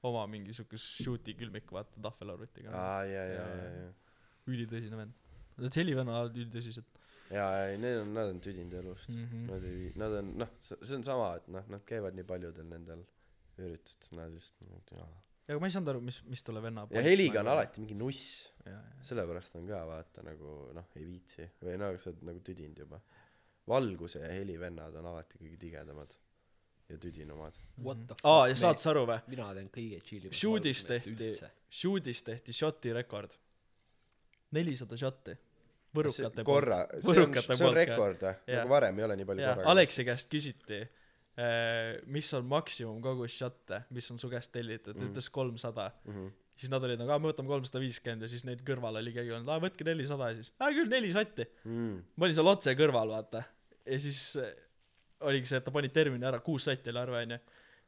oma mingi siuke shoot'i külmik vaata tahvelarvutiga aa , ja , ja , Jaa, ja , ja , ülitõsine vend Need helivennad on alati ülitõsised ja , ja need on , nad on tüdinud elust mm . Mhm. -hmm. Nad ei , nad on noh , see on sama , et noh , nad käivad nii paljudel nendel üritustel , nad lihtsalt jaa. ja aga ma ei saanud aru mis mis tolle venna ja heliga on alati mingi nuss ja, ja. sellepärast on ka vaata nagu noh ei viitsi või no sa oled nagu tüdinud juba valguse ja heli vennad on alati kõige tigedamad ja tüdinumad What the Mm. aa ja fuck , saad sa aru vä mina teen kõige chill'imat Shoot'is tehti Shoot'is tehti shot'i rekord nelisada shot'i võrukate korra poolt see on võrukate see on poolt ka rekord vä Jah. nagu varem ei ole nii palju jaa korraga Aleksi käest küsiti eh, mis on maksimumkogus shot'e mis on su käest tellitud ta ütles kolmsada Mhm. siis nad olid nagu aa me võtame kolmsada viiskümmend ja siis neid kõrval oli keegi olnud aa võtke nelisada ja siis aa küll neli sotti mm. ma olin seal otse kõrval vaata ja siis äh, oligi see et ta pani termini ära kuus sotti oli arve onju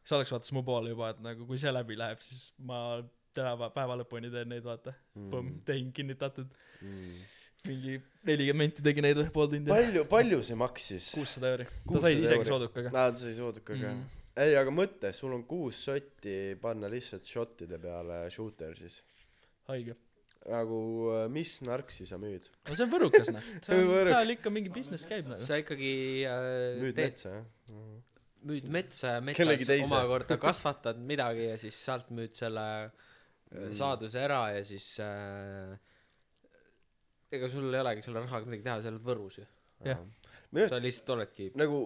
siis Alex vaatas mu poole juba et nagu kui see läbi läheb siis ma päeva päeva lõpuni teen neid vaata põmm tehing kinnitatud Mm. mingi nelikümmend menti tegi neid või pool tundi palju palju see maksis kuussada euri ta sai 600 isegi euri. soodukaga aa see ei sooduka ka Mm. ei aga mõtle sul on kuus sotti panna lihtsalt šottide peale shooter siis haige nagu äh, mis narksi sa müüd no see on võrukas noh see on Võruk. seal ikka mingi business käib nagu sa ikkagi äh, müüd teed , metsa jah müüd metsa ja Kellegi metsas teise. omakorda kasvatad midagi ja siis sealt müüd selle mm. Mm. saaduse ära ja siis äh, ega sul ei olegi selle rahaga midagi teha , sa oled Võrus ju . Jah. minu sa arust lihtsalt oledki , nagu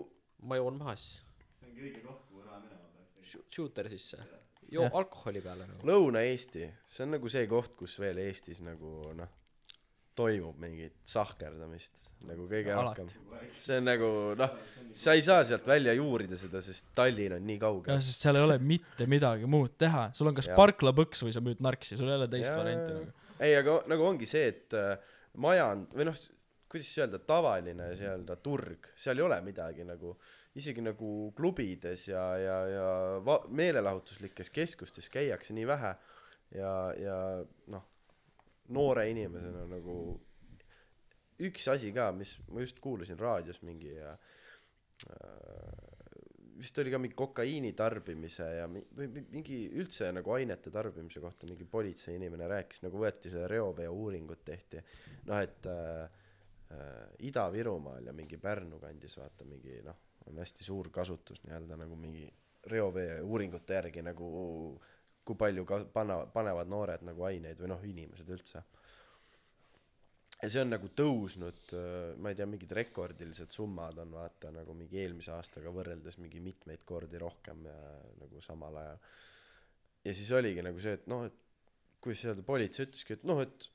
ma joon mahas . see on kõige koht , kuhu raha minema peaks . Shooter sisse . joo Jah. alkoholi peale nagu . Lõuna-Eesti , see on nagu see koht , kus veel Eestis nagu noh , toimub mingit sahkerdamist nagu kõige Alati. rohkem . see on nagu noh , sa ei saa sealt välja juurida seda , sest Tallinn on nii jah kaugel . sest seal ei ole mitte midagi muud teha sul on kas Jah. parklapõks või sa müüd narksi sul ei ole teist Jaa. varianti nagu ei , aga nagu ongi see , et äh, majand- või noh , kuidas öelda , tavaline nii-öelda turg , seal ei ole midagi nagu , isegi nagu klubides ja , ja , ja va- meelelahutuslikes keskustes käiakse nii vähe ja , ja noh , noore inimesena nagu üks asi ka , mis ma just kuulasin raadios mingi ja äh, vist oli ka mingi kokaiini tarbimise ja mi- või mi- mingi üldse nagu ainete tarbimise kohta mingi politseiinimene rääkis , nagu võeti see reoveo uuringut tehti , noh et äh, äh, Ida-Virumaal ja mingi Pärnu kandis vaata mingi noh , on hästi suur kasutus nii-öelda nagu mingi reovee uuringute järgi nagu kui palju ka- pana- panevad noored nagu aineid või noh inimesed üldse ja see on nagu tõusnud , ma ei tea , mingid rekordilised summad on vaata nagu mingi eelmise aastaga võrreldes mingi mitmeid kordi rohkem ja nagu samal ajal . ja siis oligi nagu see , et noh , et kuidas öelda , politsei ütleski , et noh , et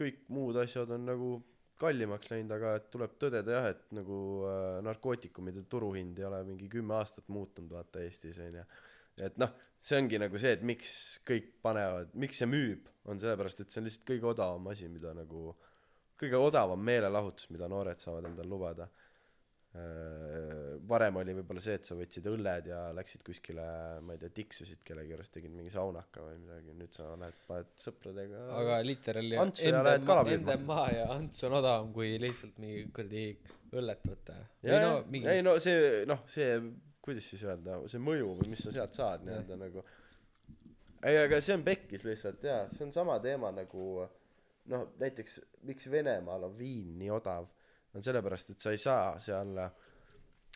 kõik muud asjad on nagu kallimaks läinud , aga et tuleb tõdeda jah , et nagu äh, narkootikumide turuhind ei ole mingi kümme aastat muutunud vaata Eestis onju . et noh , see ongi nagu see , et miks kõik panevad , miks see müüb , on sellepärast , et see on lihtsalt kõige odavam asi , mida nagu , kõige odavam meelelahutus , mida noored saavad endale lubada . varem oli võib-olla see , et sa võtsid õlled ja läksid kuskile , ma ei tea , tiksusid kellegi juures , tegid mingi saunaka või midagi , nüüd sa lähed , paned sõpradega . aga literally Antsu ja enda lähed maa kala , püüdma. enda maa ja Ants on odavam kui lihtsalt mingi kuradi õllet võtta . ja või no, no mingi... mingi ei no see noh see kuidas siis öelda see mõju või mis sa sealt saad nii-öelda nagu ei aga see on pekkis lihtsalt jaa see on sama teema nagu noh näiteks miks Venemaal on viin nii odav on sellepärast et sa ei saa seal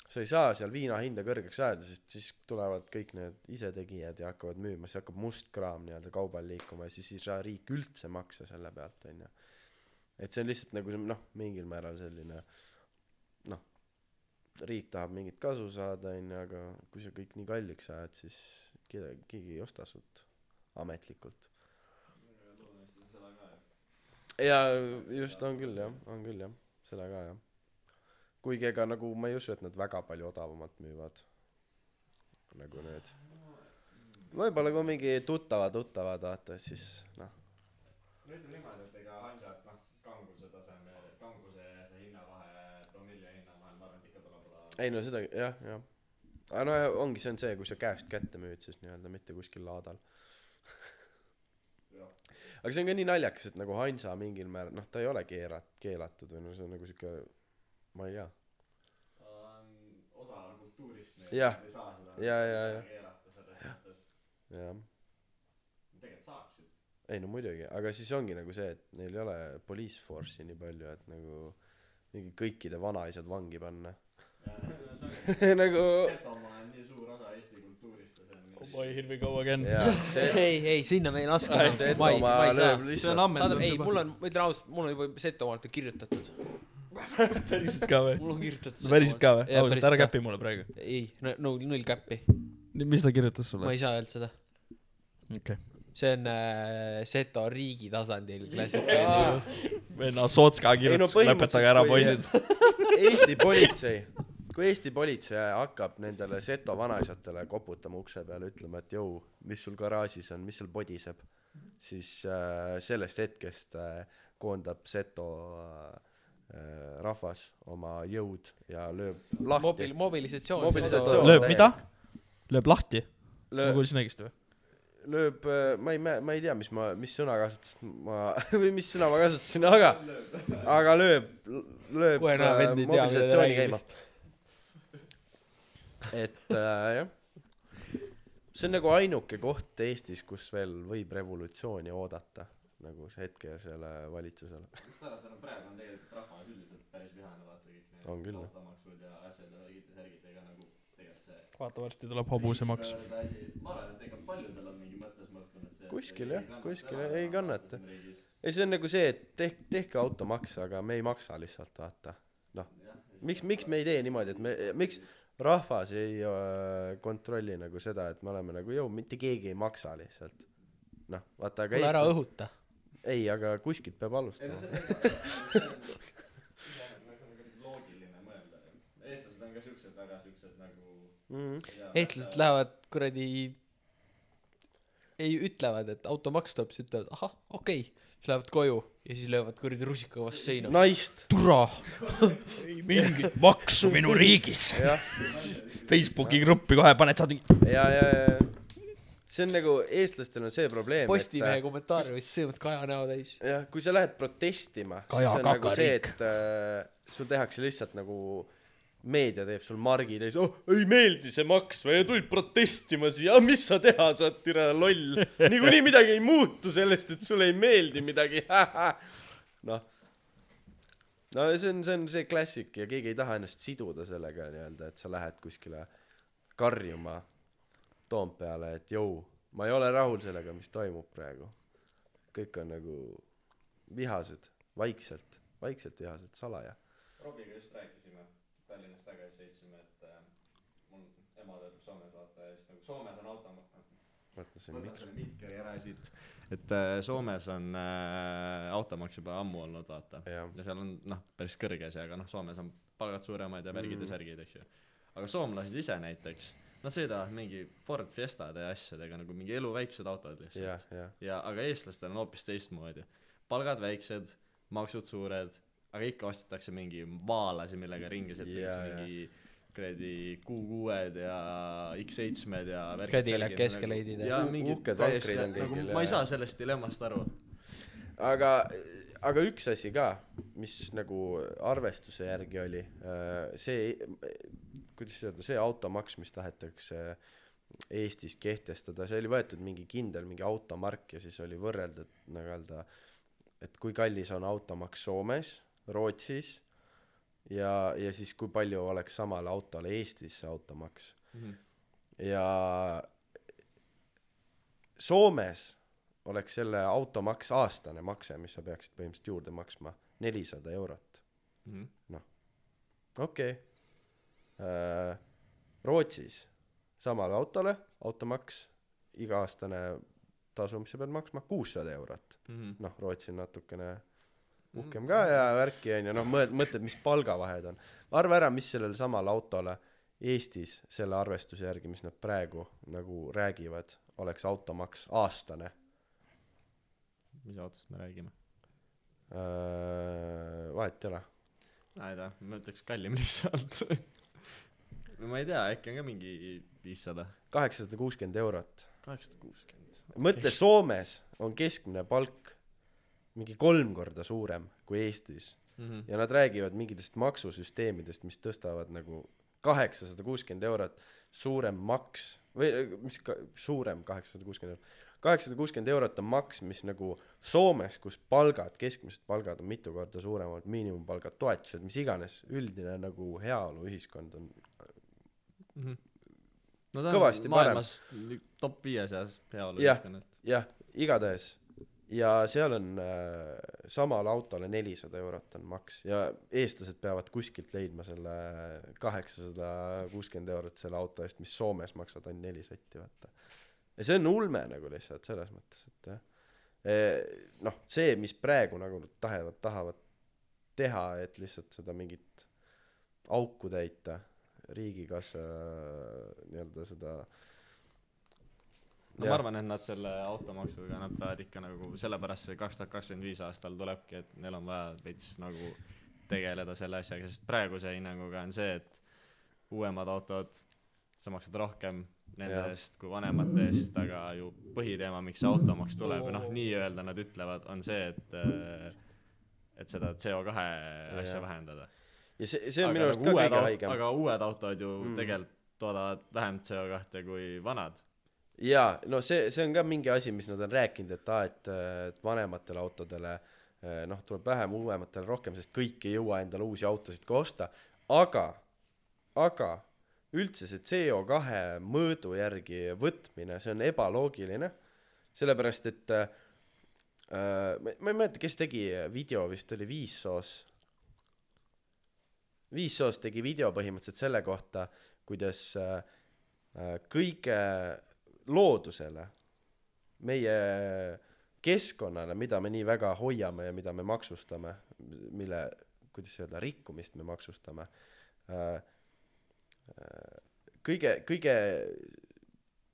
sa ei saa seal viina hinda kõrgeks ajada sest siis tulevad kõik need isetegijad ja hakkavad müüma siis hakkab must kraam nii-öelda kaubal liikuma ja siis ei saa riik üldse maksa selle pealt onju et see on lihtsalt nagu see noh mingil määral selline noh riik tahab mingit kasu saada onju aga kui sa kõik nii kalliks ajad siis keda keegi ei osta sult ametlikult ja just on küll jah on küll jah seda ka jah kuigi ega nagu ma ei usu et nad väga palju odavamalt müüvad nagu need võibolla kui mingi tuttava tuttavad vaata siis noh no ütleme niimoodi , et ega Hansat , noh , kanguse taseme , kanguse see hinnavahe , promilli hinnavahe , ma arvan , et ikka tuleb olla . ei no seda jah jah aga no ja ongi see on see kui sa käest kätte müüd siis niiöelda mitte kuskil laadal aga see on ka nii naljakas et nagu Hansa mingil määral noh ta ei ole keerat- keelatud või no see on nagu siuke ma ei tea ta on osa kultuurist , me Jah. ei saa seda Jaa, jaa, jah. keelata selles mõttes . jah tegelikult saaksid . ei no muidugi aga siis ongi nagu see et neil ei ole police force'i nii palju et nagu mingi kõikide vanaisad vangi panna nagu Setomaa on nii suur osa Eesti kultuurist ja see on oh boy , here we go again . jaa see ei , ei sinna me ei laske Ai, . Setomaa lööb see on lihtsalt saadab , ammendatud ei , mul on , ma ütlen ausalt , mul on juba Setomaalt ju kirjutatud , päriselt ka või ? mul on kirjutatud . päriselt ka või ? Jaa, ausalt , päriselt ära ka. käpi mulle praegu . ei , no , no null käppi , mis ta kirjutas ma sulle ? ei saa öelda seda . okei . see on äh, Seto riigi tasandil klassifitseeritud . venna Sootska Ei no kirjutas , lõpetage ära , poisid . põhimõtteliselt Eesti politsei , kui Eesti politsei hakkab nendele seto vanaisatele koputama ukse peale , ütlema , et jõu , mis sul garaažis on , mis sul podiseb , siis äh, sellest hetkest äh, koondab seto äh, rahvas oma jõud ja lööb lahti mobil ,. mobilisatsioon . Mobilisatsioon. lööb mida ? lööb lahti ? ma lööb , kuulsin õigesti või ? lööb , ma ei , ma ei tea , mis ma , mis sõna kasutasin ma või mis sõna ma kasutasin , aga , aga lööb , lööb kohe näha , äh, vend ei tea , mida ta mobilisatsiooni räägib käima . vist . et äh, jah see on nagu ainuke koht Eestis kus veel võib revolutsiooni oodata nagu see hetkel selle valitsusele just ära , tähendab praegu on tegelikult rahvas üldiselt päris vihane , vaata kõik need On küll, jah. automaksud ja asjad ja värgid ja särgid , ega nagu tegelikult see vaata , varsti tuleb hobusemaks . pöörde asi , ma arvan , et ega paljudel on mingi mõttes , ma ütlen , et see Kuskil, jah, kuskil, ei kannata. ei see on nagu see et teh- tehke automaks aga me ei maksa lihtsalt vaata noh miks miks me ei tee niimoodi et me miks rahvas ei äh, kontrolli nagu seda et me oleme nagu jõu mitte keegi ei maksa lihtsalt noh vaata aga kuule ära Eesti õhuta . ei aga kuskilt peab alustama loogiline mõelda . eestlased on ka siuksed väga siuksed nagu mm. eestlased lähevad kuradi , ei ütlevad , et automaks tuleb , siis ütlevad ahah , okei okay. , siis lähevad koju ja siis löövad kuradi rusikaga vastu seina . naist türa . ei mingit maksu minu riigis . jah Facebooki gruppi kohe paned , saad mingi . ja , ja , ja see on nagu eestlastel on see probleem , Postimehe et kommentaariumis sõimad Kaja näo täis . jah , kui sa lähed protestima , Kaja siis on nagu see , Kakariik. et äh, sul tehakse lihtsalt nagu meedia teeb sul margi täis , oh ei meeldi see maks või tulid protestima siia , mis sa teha saad , türa loll , niikuinii midagi ei muutu sellest , et sulle ei meeldi midagi , noh . no see on , see on see klassik ja keegi ei taha ennast siduda sellega nii-öelda , et sa lähed kuskile karjuma Toompeale , et jõu , ma ei ole rahul sellega , mis toimub praegu . kõik on nagu vihased , vaikselt , vaikselt vihased , salaja . Robiga just rääkisime , Tallinnast tagasi sõitsime , et äh, mul ema töötab Soomes , vaata , ja siis nagu Soomes on automaks , vaata see võtan mikro . selle mikri ära ja siit . et äh, Soomes on äh, automaks juba ammu olnud , vaata . jah , ja seal on noh , päris kõrge see , aga noh , Soomes on palgad suuremad ja värgid mm. ja särgid , eks ju . aga soomlased ise näiteks , Nad sõidavad mingi Ford Fiestade ja asjadega nagu mingi elu väiksed autod lihtsalt jah , jah . ja aga eestlastel on hoopis teistmoodi palgad väiksed maksud suured aga ikka ostetakse mingi vaalasi millega ringi Jaa, sõidetakse jaa. mingi kuradi Q6-d ja X7-d ja värgid Cadillac särgid nagu- Escalade'id ja- jaa U- mingid uhked täiesti vankrid on nagu kõigil, ma jaa. ei saa sellest dilemmast aru aga , aga üks asi ka , mis nagu arvestuse järgi oli , see , kuidas öelda , see automaks , mis tahetakse Eestis kehtestada , see oli võetud mingi kindel mingi automark ja siis oli võrreldud nii-öelda , et kui kallis on automaks Soomes , Rootsis ja , ja siis kui palju oleks samale autole Eestis see automaks . Mhm. ja Soomes oleks selle automaks aastane makse , mis sa peaksid põhimõtteliselt juurde maksma , nelisada eurot , Mhm. okei okay. . Rootsis samale autole automaks , iga-aastane tasu , mis sa pead maksma , kuussada eurot . Mhm. noh , Rootsi on natukene uhkem ka ja värki onju , noh mõtled , mõtled , mis palgavahed on . arva ära , mis sellele samale autole Eestis selle arvestuse järgi , mis nad praegu nagu räägivad , oleks automaks aastane mis autost me räägime Öö, vahet ei ole . ma Ah, ei tea ma ütleks kallim lihtsalt või ma ei tea äkki on ka mingi viissada kaheksasada kuuskümmend eurot . kaheksasada kuuskümmend mõtle , Soomes on keskmine palk mingi kolm korda suurem kui Eestis Mhm. Mm. ja nad räägivad mingitest maksusüsteemidest , mis tõstavad nagu kaheksasada kuuskümmend eurot suurem maks või äh, mis ka, suurem kaheksasada kuuskümmend eurot , kaheksasada kuuskümmend eurot on maks , mis nagu Soomes , kus palgad , keskmised palgad on mitu korda suuremad , miinimumpalgad , toetused , mis iganes , üldine nagu heaoluühiskond on Mhm. no ta Kõvasti on maailmas parem. top viie seas Jah. heaoluühiskonnast jah , igatahes ja seal on äh, samale autole nelisada eurot on maks ja eestlased peavad kuskilt leidma selle kaheksasada kuuskümmend eurot selle auto eest , mis Soomes maksab ainult neli sotti , vaata . ja see on ulme nagu lihtsalt selles mõttes , et jah Eh, noh , see , mis praegu nagu nad tahavad , tahavad teha , et lihtsalt seda mingit auku täita , riigikassa äh, nii-öelda seda no Jah. ma arvan , et nad selle automaksuga , nad peavad ikka nagu sellepärast see kaks tuhat kakskümmend viis aastal tulebki , et neil on vaja veits nagu tegeleda selle asjaga , sest praeguse hinnanguga on see , et uuemad autod , sa maksad rohkem nende Jah. eest kui vanemate eest , aga ju põhiteema , miks see automaks tuleb või noh , nii-öelda nad ütlevad , on see , et äh, et seda CO2 asja jah. vähendada . ja see , see on minu arust ka kõige haigem . aga nagu uued autod ju Mm. mm. tegelikult toodavad vähem CO2 kui vanad . jaa , no see , see on ka mingi asi , mis nad on rääkinud , et aa , et , et vanematele autodele eh, noh , tuleb vähem , uuematele rohkem , sest kõik ei jõua endale uusi autosid ka osta , aga , aga üldse see CO2 mõõdu järgi võtmine , see on ebaloogiline , sellepärast et äh, ma ma ei mäleta , kes tegi video , vist oli Viissoos , Viissoos tegi video põhimõtteliselt selle kohta , kuidas äh, äh, kõige loodusele , meie keskkonnale , mida me nii väga hoiame ja mida me maksustame , mille , kuidas öelda , rikkumist me maksustame , kõige , kõige ,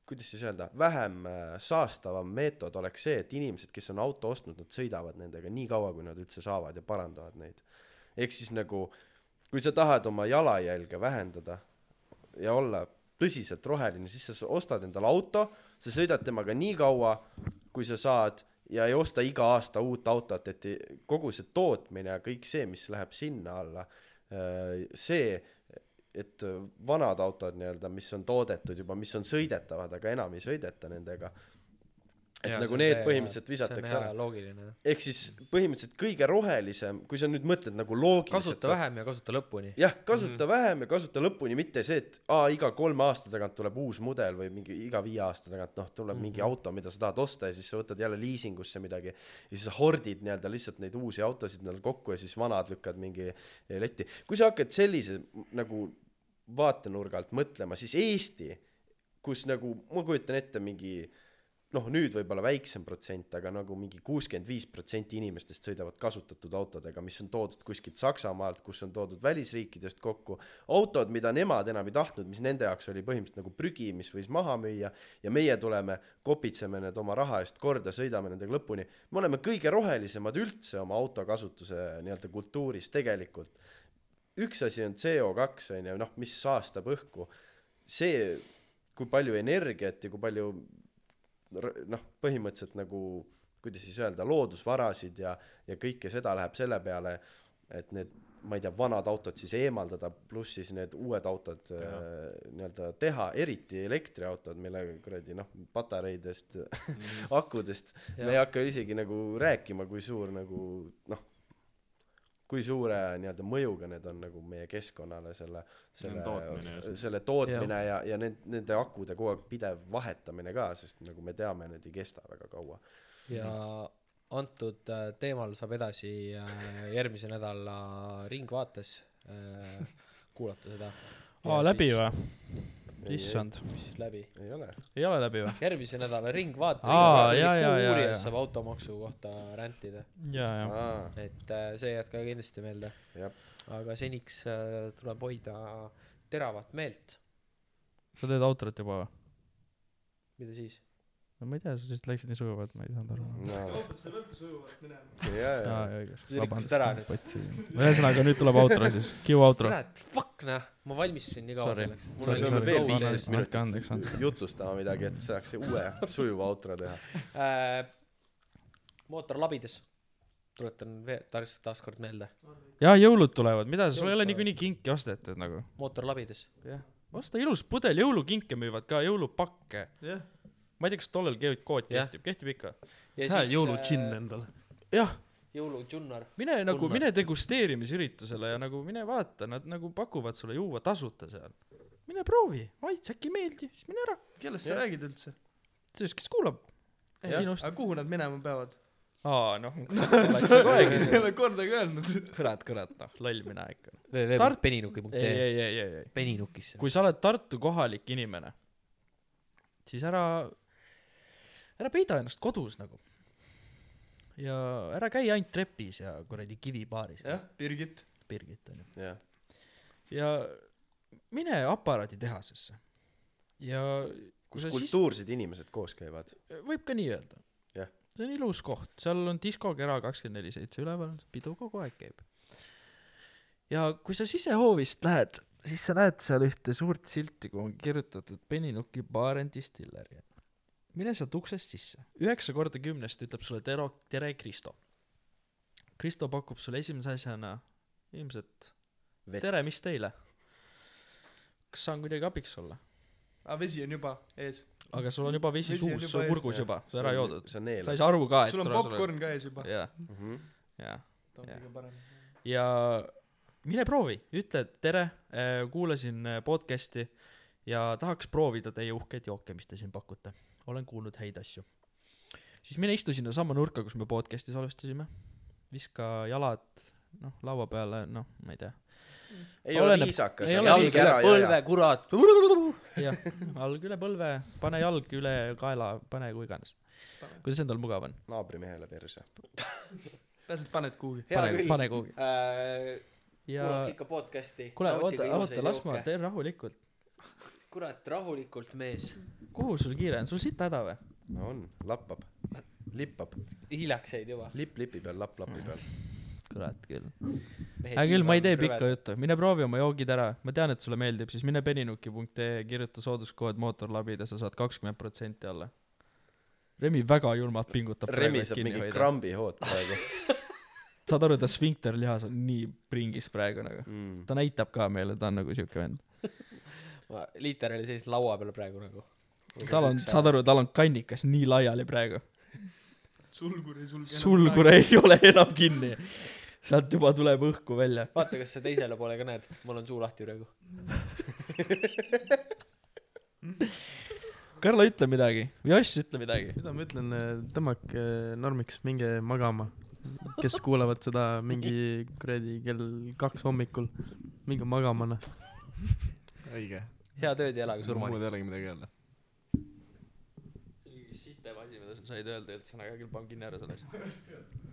kuidas siis öelda , vähem äh, saastavam meetod oleks see , et inimesed , kes on auto ostnud , nad sõidavad nendega nii kaua , kui nad üldse saavad ja parandavad neid . ehk siis nagu , kui sa tahad oma jalajälge vähendada ja olla tõsiselt roheline , siis sa s- ostad endale auto , sa sõidad temaga nii kaua , kui sa saad ja ei osta iga aasta uut autot , et ei- kogu see tootmine ja kõik see , mis läheb sinna alla , see , et vanad autod nii-öelda , mis on toodetud juba , mis on sõidetavad , aga enam ei sõideta nendega , et Jaa, see nagu on need täiega- põhimõtteliselt see visatakse on hea ära . loogiline jah ehk siis põhimõtteliselt kõige rohelisem , kui sa nüüd mõtled nagu loogiliselt . kasuta vähem Mhm. ja kasuta lõpuni jah , kasuta mm -hmm. vähem ja kasuta lõpuni , mitte see , et aa , iga kolme aasta tagant tuleb uus mudel või mingi iga viie aasta tagant , noh , tuleb mm -hmm. mingi auto , mida sa tahad osta ja siis sa võtad jälle liisingusse midagi . ja siis sa hordid nii-öelda lihtsalt neid uusi autosid endale kokku ja siis vanad lükkad mingi letti . kui sa hakkad sellise nagu vaatenurgalt mõtlema , siis Eesti , kus nagu ma kujutan ette mingi noh , nüüd võib-olla väiksem protsent , aga nagu mingi kuuskümmend viis protsenti inimestest sõidavad kasutatud autodega , mis on toodud kuskilt Saksamaalt , kus on toodud välisriikidest kokku . autod , mida nemad enam ei tahtnud , mis nende jaoks oli põhimõtteliselt nagu prügi , mis võis maha müüa ja meie tuleme , kopitseme need oma raha eest korda , sõidame nendega lõpuni . me oleme kõige rohelisemad üldse oma autokasutuse nii-öelda kultuuris tegelikult . üks asi on CO2 on ju , noh , mis saastab õhku . see , kui palju energiat ja kui palju r- noh , põhimõtteliselt nagu kuidas siis öelda , loodusvarasid ja , ja kõike seda läheb selle peale , et need , ma ei tea , vanad autod siis eemaldada , pluss siis need uued autod äh, nii-öelda teha , eriti elektriautod , mille kuradi noh , patareidest mm. , akudest ja. me ei hakka isegi nagu rääkima , kui suur nagu noh , kui suure nii-öelda mõjuga need on nagu meie keskkonnale selle , selle tootmine just. , selle tootmine ja, ja , ja need , nende akude kogu aeg pidev vahetamine ka , sest nagu me teame , need ei kesta väga kaua . ja antud äh, teemal saab edasi äh, järgmise nädala Ringvaates äh, kuulata seda . aa , läbi ? või ? issand , mis siis läbi ? ei ole . ei ole läbi või ? järgmise nädala Ringvaates . Aa, jaa, jaa, jaa, jaa. saab automaksu kohta rändida , ja , ja . aa , et äh, see jääb ka kindlasti meelde . jah , aga seniks äh, tuleb hoida teravat meelt . sa teed autorit juba või ? mida siis ? no ma ei tea , sa lihtsalt läksid nii sujuvalt , ma ei saanud aru . no autosse peabki sujuvalt minema . ja , aa , ja , õigesti . sa rikkusid ära nüüd . ühesõnaga , nüüd tuleb outro siis , Q outro . kurat , fuck noh , ma valmistusin nii kaua Sorry. selleks . Sorry, me peame sorry. veel Vabandust, viisteist minutit andke andeks, andke. jutustama midagi , et saaks uue sujuva outro teha . Äh, mootorlabides , tuletan veel taas , taaskord meelde , jaa , jõulud tulevad , mida sa , sul ei ole Jõulud tulevad. niikuinii kinki ostetud nagu . mootorlabides . osta ilus pudel , jõulukinke müüvad ka , jõulupakke . jah , ma ei tea , kas tollel ke- kood Jah. kehtib , kehtib ikka . sa ajad äh, jõulutšinn endale . jah , jõulutšunnar , mine nagu , Tunne. mine degusteerimisüritusele ja nagu mine vaata , nad nagu pakuvad sulle juua tasuta seal . mine proovi , maitse äkki ei meeldi , siis mine ära . kellest sa räägid üldse ? siis kes kuulab , sinust . aga kuhu nad minema peavad ? aa , noh . oleks see kohe ei küsinud . ole kordagi öelnud . kurat , kurat , noh , loll mina ikka . ei , peninuki.ee , ei , ei , ei , ei . E. peninukisse . kui sa oled Tartu kohalik inimene , siis ära , ära peida ennast kodus nagu . ja ära käi ainult trepis ja kuradi kivibaaris , jah , Birgit . Birgit onju . jah , ja mine aparaaditehasesse . ja kui kus sa siis , kultuursed inimesed koos käivad . võib ka nii öelda . Jah. see on ilus koht , seal on diskokera kakskümmend neli seitse üleval , pidu kogu aeg käib . ja kui sa sisehoovist lähed , siis sa näed seal ühte suurt silti , kuhu on kirjutatud Peninuki baar and distiller ja mine sealt uksest sisse , üheksa korda kümnest ütleb sulle tere , tere Kristo . Kristo pakub sulle esimese asjana ilmselt Vett. tere , mis teile ? kas saan kuidagi abiks olla ? aa , Ah, vesi on juba ees . aga sul on juba vesi Vesi on suus , juba sul on ees, kurgus jah. juba , sa ära joodud . sa sa ei neelad . saa aru ka , et sul on popkorn ka ees juba . jaa , Mhm. jaa . ta on jah. kõige parem . ja mine proovi , ütle et tere , kuulasin äh, podcast'i ja tahaks proovida teie uhkeid jooke , mis te siin pakute . olen kuulnud häid asju . siis mine istu sinnasamma nurka , kus me podcast'i salvestasime . viska jalad , noh , laua peale , noh , ma ei tea . ei ole Oleneb- viisakas . ei ole jalg üle põlve , kurat . jah , jalg üle põlve , pane jalg üle kaela , pane kuhu iganes . kuidas endal mugav on ? naabrimehele perse . pääsed , paned kuhugi . hea pane , küll , pane kuhugi . ja Äh, kuulake ikka podcast'i . kuule , oota , oota , las ma , tee rahulikult . kurat , rahulikult mees , kuhu sul kiire on , sul sita häda või ? no on , lappab , lippab , hiljaks jäid juba . lipp lipi peal , lapp lapi peal . kurat küll . hea küll , ma ei tee pikka . juttu , mine proovi oma joogid ära , ma tean , et sulle meeldib , siis mine peninuki.ee , kirjuta sooduskood mootorlabid ja sa saad kakskümmend protsenti alla . Remi väga julmalt pingutab Remi saab mingi . krambi hood praegu saad aru , ta sfinkterlihas on nii pringis praegu nagu . mm. . ta näitab ka meile , ta on nagu siuke vend . ma liiter oli sellise laua peal praegu nagu . tal on , saad aru , tal on kannikas nii laiali praegu . sulgur ei sulge . sulgur . ei ole enam kinni . sealt juba tuleb õhku välja . vaata , kas sa teisele poole ka näed , mul on suu lahti praegu . Karla , ütle midagi . Joss , ütle midagi . mida ma ütlen , tõmmake normiks , minge magama . kes kuulavad seda mingi kuradi kell kaks hommikul , minge magama , noh . õige . head ööd ja elage surmani . muud ei olegi midagi öelda . sitt tema asi , mida sa said öelda , et sõnaga küll panin kinni ära selle asja .